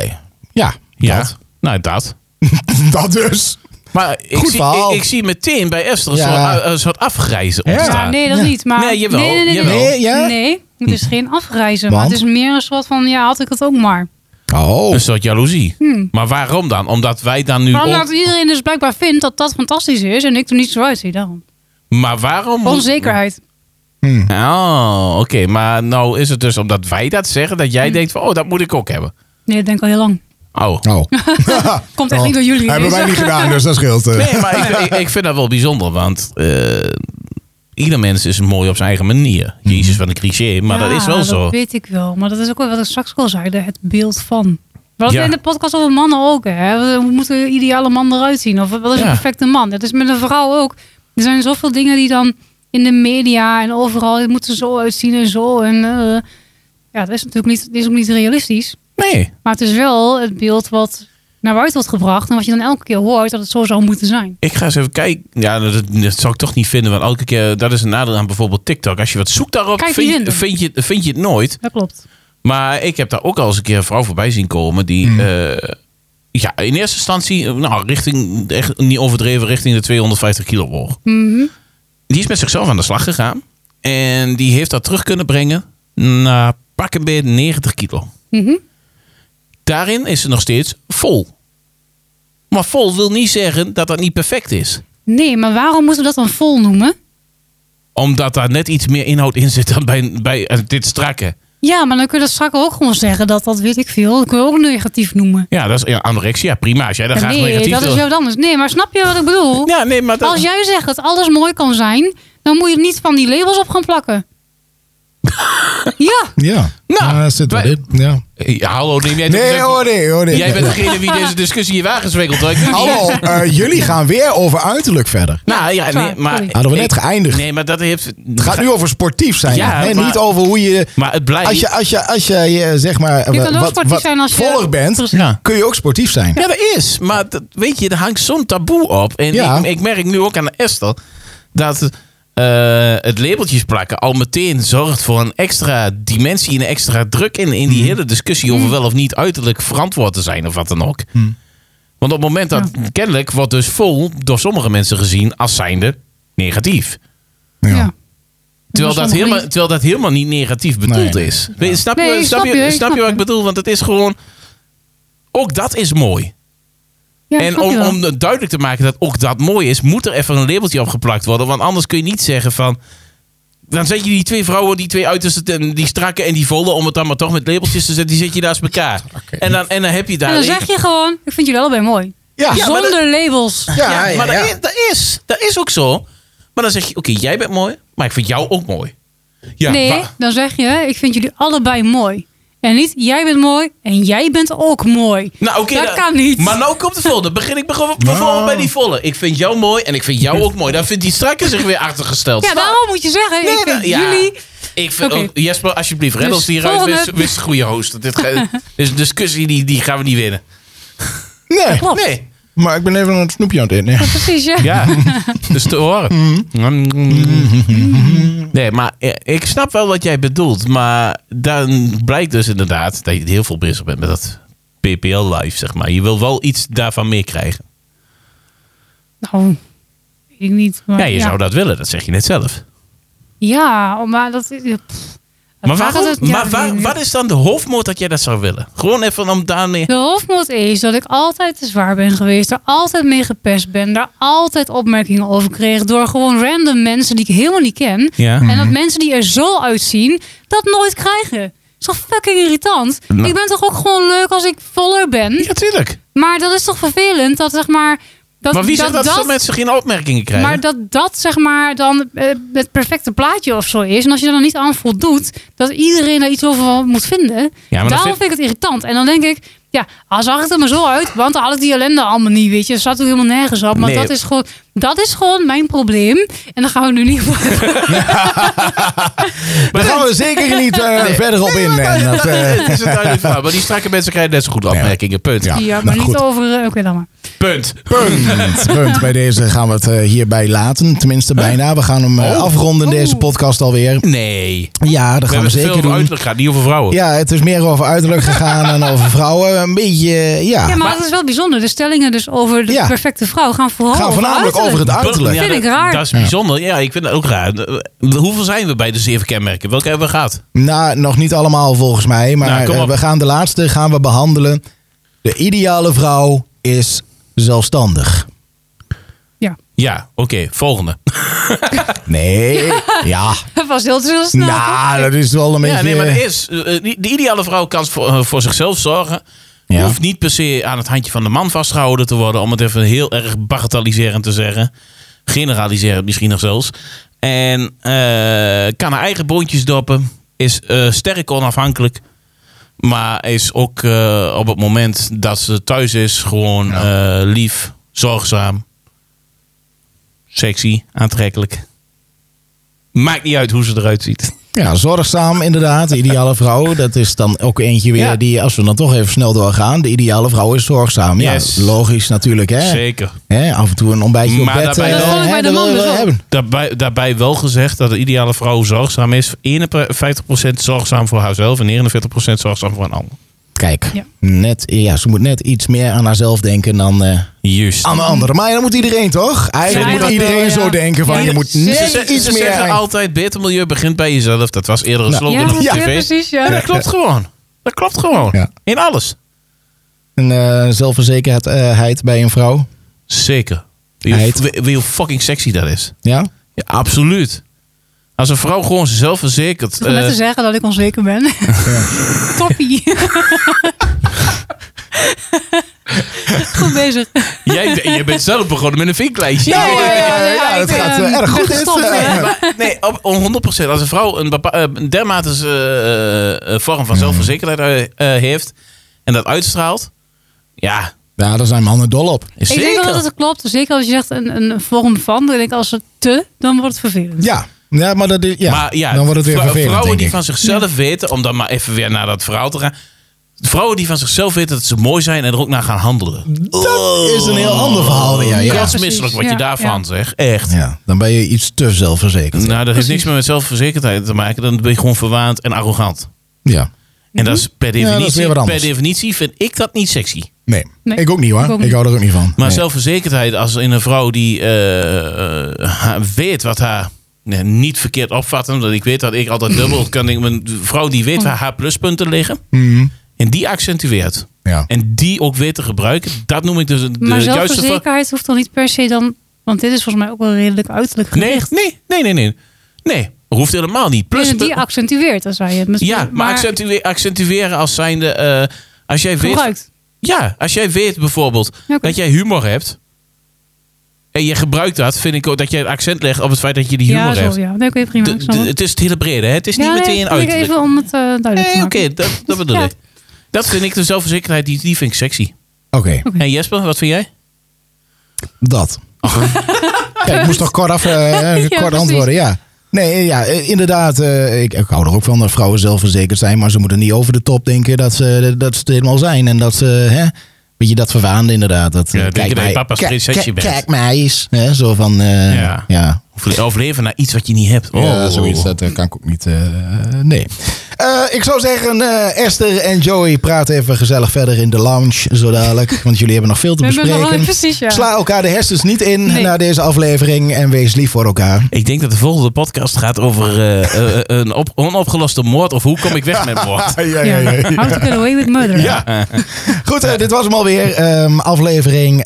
ja. Ja, Dat, nou dat. dat dus. Maar ik, Goed zie, ik, verhaal. ik zie meteen bij Esther een, Ja. soort, een soort afgrijzen Ja. Ja, ontstaan. nee, dat Ja. niet. Maar Nee, jawel, Nee, nee, nee, jawel. nee. Nee, ja? Nee, het is geen afreizen. Maar Want? het is meer een soort van, ja, had ik het ook maar. Oh, Een soort jaloezie. Hm. Maar waarom dan? Omdat wij dan nu... Maar on- omdat iedereen dus blijkbaar vindt dat dat fantastisch is en ik er niet zo uitzie, daarom. maar waarom... Onzekerheid. Oh, oké. Maar nou is het dus omdat wij dat zeggen, dat Hm. jij denkt van, oh, dat moet ik ook hebben. Nee, dat denk ik al heel lang. Oh. oh. Komt echt niet door jullie. Hebben deze. wij niet gedaan, dus dat scheelt. eh. Nee, maar ik, ik, ik vind dat wel bijzonder, want eh, ieder mens is mooi op zijn eigen manier. Jezus, wat een cliché, maar dat Hm. Ja, is wel zo. Dat weet ik wel. Maar dat is ook wel wat ik straks al zei, de- het beeld van. We hadden Ja. in de podcast over mannen ook. Hè? Hoe moet de ideale man eruit zien? Of wat is Ja. een perfecte man? Dat is met een vrouw ook. Er zijn zoveel dingen die dan in de media en overal het moet er zo uitzien en zo. En, eh, ja, dat is natuurlijk niet, dat is ook niet realistisch. Nee. Maar het is wel het beeld wat naar buiten wordt gebracht. En wat je dan elke keer hoort dat het zo zou moeten zijn. Ik ga eens even kijken. Ja, dat, dat zou ik toch niet vinden. Want elke keer, dat is een nadeel aan bijvoorbeeld TikTok. Als je wat zoekt daarop, Kijk niet vind, je- in. vind, je, vind je het nooit. Dat klopt. Maar ik heb daar ook al eens een keer een vrouw voorbij zien komen die. eh, ja, in eerste instantie, eh, nou, richting, echt niet overdreven, richting de 250 kilo woog. Mhm. Die is met zichzelf aan de slag gegaan. En die heeft dat terug kunnen brengen naar pak een beet 90 kilo. Mhm. Daarin is ze nog steeds vol. Maar vol wil niet zeggen dat dat niet perfect is. Nee, maar waarom moeten we dat dan vol noemen? Omdat daar net iets meer inhoud in zit dan bij, bij eh, dit strakke. Ja, maar dan kun je dat straks ook gewoon zeggen. Dat, dat weet ik veel. Dat kun je ook negatief noemen. Ja, dat is ja, anorexia. Prima, als jij daar Ja, graag nee, negatief dat is wil. jou anders. Nee, maar snap je wat ik bedoel? Ja, nee, maar dat... Als jij zegt dat alles mooi kan zijn, dan moet je er niet van die labels op gaan plakken. ja, Ja, Nou, nou, daar zit wat wij- in. Ja. Eh, Ja, hallo, neem jij... Nee, hoor, nee, hoor, nee. Jij bent degene die deze discussie hier aangezwikkeld. hoor. Ik doe niet. Hallo, eh, jullie gaan weer over uiterlijk verder. Nou ja, nee, Sorry. maar... Hadden we net geëindigd. Nee, maar dat heeft... Het gaat nu over sportief zijn. Ja, hè? maar- Niet over hoe je... Maar het blijft... Als je, als je, als je, eh, zeg maar, Je wa- kan ook sportief zijn als je- volger bent, Ja. kun je ook sportief zijn. Ja, dat is. Maar dat, weet je, er hangt zo'n taboe op. En Ja. ik, ik merk nu ook aan Esther dat eh, het labeltjes plakken al meteen zorgt voor een extra dimensie en een extra druk in, in die Mhm. hele discussie Mhm. over wel of niet uiterlijk verantwoord te zijn of wat dan ook. Mhm. Want op het moment dat kennelijk wordt dus vol door sommige mensen gezien als zijnde negatief. ja. Terwijl Maar dat, sommige helemaal, mensen- terwijl dat helemaal niet negatief bedoeld Nee. is. Weet je, Snap, Nee, je, ik snap, snap je, je, ik snap je snap wat ik je. bedoel? Want het is gewoon. Ook dat is mooi. Ja, en snap je om, wel. om het duidelijk te maken dat ook dat mooi is, moet er even een labeltje op geplakt worden. Want anders kun je niet zeggen van. Dan zet je die twee vrouwen, die twee uitersten, en die strakke en die volle, om het dan maar toch met labeltjes te zetten, die zet je naast elkaar. En dan, en dan heb je daar. En dan zeg je gewoon, ik vind jullie allebei mooi. Ja, Ja, maar Zonder labels. Ja, Ja, ja, maar ja. Dat, is, dat, is, dat is ook zo. Maar dan zeg je, oké, jij bent mooi, maar ik vind jou ook mooi. Ja, nee, wa- dan zeg je, ik vind jullie allebei mooi. En niet, jij bent mooi en jij bent ook mooi. Nou, oké. dat dan- kan niet. Maar nou komt de volle. Dan begin ik begon- bijvoorbeeld bij die volle. Ik vind jou mooi en ik vind jou ook mooi. Dan vindt die strakke zich weer achtergesteld. ja, daarom moet je zeggen, Nee, ik vind nou, ja. jullie... Ik vind, Oké. oh, Jesper, alsjeblieft, red Dus ons hieruit. volgende- Wist, wist een goede host. Dit ga- dit is een discussie, die, die gaan we niet winnen. Nee, Klopt. Nee. maar ik ben even een snoepje aan het eten. ja. Precies, ja. Ja, dus te horen. Nee, maar eh, ik snap wel wat jij bedoelt. Maar dan blijkt dus inderdaad dat je heel veel bezig bent met dat PPL live, zeg maar. Je wil wel iets daarvan meekrijgen. Nou, weet ik niet. Maar, Ja, je zou dat willen. Dat zeg je net zelf. Ja, maar dat... pff. Maar, Waar waarom, gaat het- ja, maar waar- nee, nee. wat is dan de hoofdmoot dat jij dat zou willen? Gewoon even om daarmee... De hoofdmoot is dat ik altijd te zwaar ben geweest. Daar altijd mee gepest ben. Daar altijd opmerkingen over kreeg. Door gewoon random mensen die ik helemaal niet ken. Ja. En dat mensen die er zo uitzien, dat nooit krijgen. is toch fucking irritant? Nou. Ik ben toch ook gewoon leuk als ik voller ben? Ja, tuurlijk. Maar dat is toch vervelend dat zeg maar... Dat, maar wie zegt dat, veel mensen geen opmerkingen krijgen? Maar dat dat zeg maar dan eh, het perfecte plaatje of zo is. En als je er dan niet aan voldoet, dat iedereen daar iets over van moet vinden. maar dat daarom vind- vind... ik het irritant. En dan denk ik, ja, als zag het er maar zo uit, want dan had ik die ellende allemaal niet, weet je. Dat zat er helemaal nergens op. Maar Nee. dat, is gewoon, dat is gewoon mijn probleem. En daar gaan we nu niet voor. Daar gaan we zeker niet eh, verder op in. En dat, eh, het is een duidelijk verhaal. Maar die strakke mensen krijgen net zo goed opmerkingen. Punt. Ja. ja, maar nou niet goed. over... eh, Oké, dan maar. Punt. punt, punt. Bij deze gaan we het eh, hierbij laten. Tenminste, bijna. We gaan hem eh, Oh. afronden, deze podcast alweer. Nee. Ja, dat We gaan hebben we het veel zeker over doen. uiterlijk gehad, niet over vrouwen. Ja, het is meer over uiterlijk gegaan en over vrouwen. Een beetje, eh, Ja, ja. maar maar- dat is wel bijzonder. De stellingen dus over de Ja. perfecte vrouw gaan vooral Gaan over voornamelijk uiterlijk. over het uiterlijk. Ja, Vind ik dat- raar. Dat is bijzonder. Ja, ik vind het ook raar. Eh, Hoeveel zijn we bij de zeven kenmerken? Welke hebben we gehad? Nou, nog niet allemaal volgens mij. Maar Nou, kom eh, op. we gaan de laatste gaan we behandelen. De ideale vrouw is zelfstandig. Ja, Ja, oké. volgende. Nee, ja. dat was heel te snel. Nou, dat is wel een beetje... Ja, nee, maar het is. eh, De ideale vrouw kan voor, eh, voor zichzelf zorgen. Ja. Hoeft niet per se aan het handje van de man vastgehouden te worden. Om het even heel erg bagatelliserend te zeggen. Generaliserend misschien nog zelfs. En eh, kan haar eigen boontjes doppen. Is eh, sterk onafhankelijk. Maar is ook eh, op het moment dat ze thuis is gewoon eh, lief, zorgzaam, sexy, aantrekkelijk. Maakt niet uit hoe ze eruit ziet. Ja, zorgzaam inderdaad. De ideale vrouw. Dat is dan ook eentje weer Ja. die, als we dan toch even snel doorgaan. De ideale vrouw is zorgzaam. Yes. Ja, logisch natuurlijk. Hè? Zeker. hè af en toe een ontbijtje Maar op bed. daarbij eh, wel- Dat vond ik hè, bij de man dat willen we dus ook. hebben. Daarbij, daarbij wel gezegd dat de ideale vrouw zorgzaam is. 51% zorgzaam voor haarzelf en 49% zorgzaam voor een ander. Kijk, Ja. net, ja, ze moet net iets meer aan haarzelf denken dan eh, Juist. aan de anderen. Maar ja, dat moet iedereen toch? Eigenlijk Ja, moet eigenlijk iedereen wel, ja. zo denken van Ja. je moet Ze net Ze, ze- ze iets meer... zeggen aan- altijd, beter milieu begint bij jezelf. Dat was eerder een slogan Nou, Ja, op dat- ja, tv. precies. En Ja. dat klopt gewoon. Dat klopt gewoon. Ja. In alles. En eh, zelfverzekerdheid bij een vrouw. Zeker. Wie Heid. wie- wie hoe fucking sexy dat is. Ja? Ja, absoluut. Als een vrouw gewoon zelfverzekerd... Ik wil net eh, te zeggen dat ik onzeker ben. Toppie. Goed bezig. jij, jij bent zelf begonnen met een vinklijstje. Ja, ja, ja. Eh, ja, ik dat ben, gaat eh, eh, erg goed. ben gestopt, dit. hè. Eh, Nee, op, op 100%. Als een vrouw een, bepa- eh, een dermate eh, eh, vorm Mhm. van zelfverzekerdheid eh, eh, heeft en dat uitstraalt, ja, ja, daar zijn mannen dol op. is Ik denk zeker. wel dat het klopt. Zeker als je zegt een, een vorm van. Dan denk ik als het te, dan wordt het vervelend. Ja, ja maar dat, is- ja, maar ja, dan wordt het weer vrou- vervelend, vrouwen denk die ik. van zichzelf weten, om dan maar even weer naar dat verhaal te gaan. Vrouwen die van zichzelf weten dat ze mooi zijn en er ook naar gaan handelen. Dat is een heel ander verhaal weer. Ja, Ja, ja. misselijk wat Ja, je daarvan ja. zegt. Echt. Ja, dan ben je iets te zelfverzekerd. Nou, dat heeft niks meer met zelfverzekerdheid te maken. Dan ben je gewoon verwaand en arrogant. Ja. En dat is per Ja, dat is definitie, weer wat per anders. definitie vind ik dat niet sexy. Nee, Nee, ik ook niet hoor. ik Ik, ook niet. hou er ook niet van. Maar Nee. zelfverzekerdheid als in een vrouw die eh, eh, haar- weet wat haar nee, niet verkeerd opvatten. Omdat ik weet dat ik altijd dubbel kan. denken. Een vrouw die weet waar haar pluspunten liggen. Mhm. En die accentueert. Ja. En die ook weet te gebruiken. Dat noem ik dus de Maar juiste... va- zelfverzekerheid hoeft dan niet per se dan... Want dit is volgens mij ook wel redelijk uiterlijk Nee, gericht. nee, nee, nee. Nee, nee hoeft helemaal niet. En Pluspunten. die accentueert, als wij het misschien. Ja, maar, accentue- accentueren als zijnde... eh, als jij weet gebruikt. Ja, als jij weet bijvoorbeeld Ja, oké. dat jij humor hebt. En je gebruikt dat, vind ik ook dat jij een accent legt op het feit dat je die humor Ja, hebt. zo, ja. Nee, oké, prima. De- ik snap de- het. het is het hele brede, hè? het is Ja, niet nee, meteen ik- uiterlijk. Even om het eh, duidelijk te Nee, maken. oké, dat, dat bedoel Ja. ik. Dat vind ik de zelfverzekerdheid, die, die vind ik sexy. Oké, En Jesper, wat vind jij? dat. Kijk, ik moest nog kort, af, eh, kort precies. antwoorden, ja. Nee, ja, eh, inderdaad. eh, ik, ik hou er ook van dat vrouwen zelfverzekerd zijn. Maar ze moeten niet over de top denken dat ze, eh, dat ze het helemaal zijn. En dat ze, hè, weet je, dat verwaande inderdaad. Dat, eh, Ja, denken dat je papa's kijk- prinsesje kijk- bent. Kijk mij eens. Hè, zo van, eh, Ja. ja. Of Overleven naar iets wat je niet hebt. Oh, Ja, zoiets, dat eh, kan ik ook niet. eh, nee. Eh, ik zou zeggen, eh, Esther en Joey, praat even gezellig verder in de lounge zo dadelijk. Want jullie hebben nog veel te We hebben nog wel- bespreken. precies, ja. Sla elkaar de hersens niet in Nee. na deze aflevering en wees lief voor elkaar. Ik denk dat de volgende podcast gaat over eh, eh, eh, een op- onopgeloste moord. Of hoe kom ik weg met moord? ja, Ja. How to get away with murder. Ja. Goed, eh, dit was hem alweer. Ehm, aflevering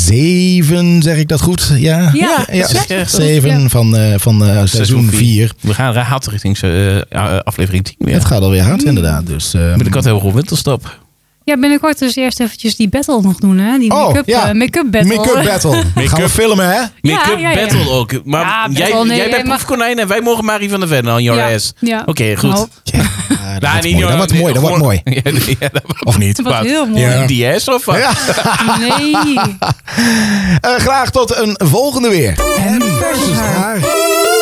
7, zeg ik dat goed? Ja, Ja, dat zeg je echt goed. 7 Ja. van, eh, van eh, seizoen 4. We gaan raad richting eh, eh, aflevering 10 weer. Het gaat alweer Mm. hard, inderdaad. Dus, ehm, Met de kat hebben we gewoon winterstop. Ja, binnenkort dus eerst eventjes die battle nog doen, hè? Die Oh, make-up ja. eh, make-up battle. Make-up battle. Gaan we filmen, hè? Ja, Make-up ja, ja. battle ook. Maar Ja, battle, jij, nee, jij jij bent mag- proefkonijn en wij mogen Marie van der Ven on your Ja, ass. ja. Oké, goed. Nou, Nou, Ja, Ah, dat wordt niet mooi, hoor. dat wordt mooi, dat wordt Gewoon- mooi. Ja, nee, ja, dat wordt Of niet? dat was Wat? heel mooi. Ja. Die ass of wat? Ja. Nee. Eh, graag tot een volgende weer. versus haar. haar.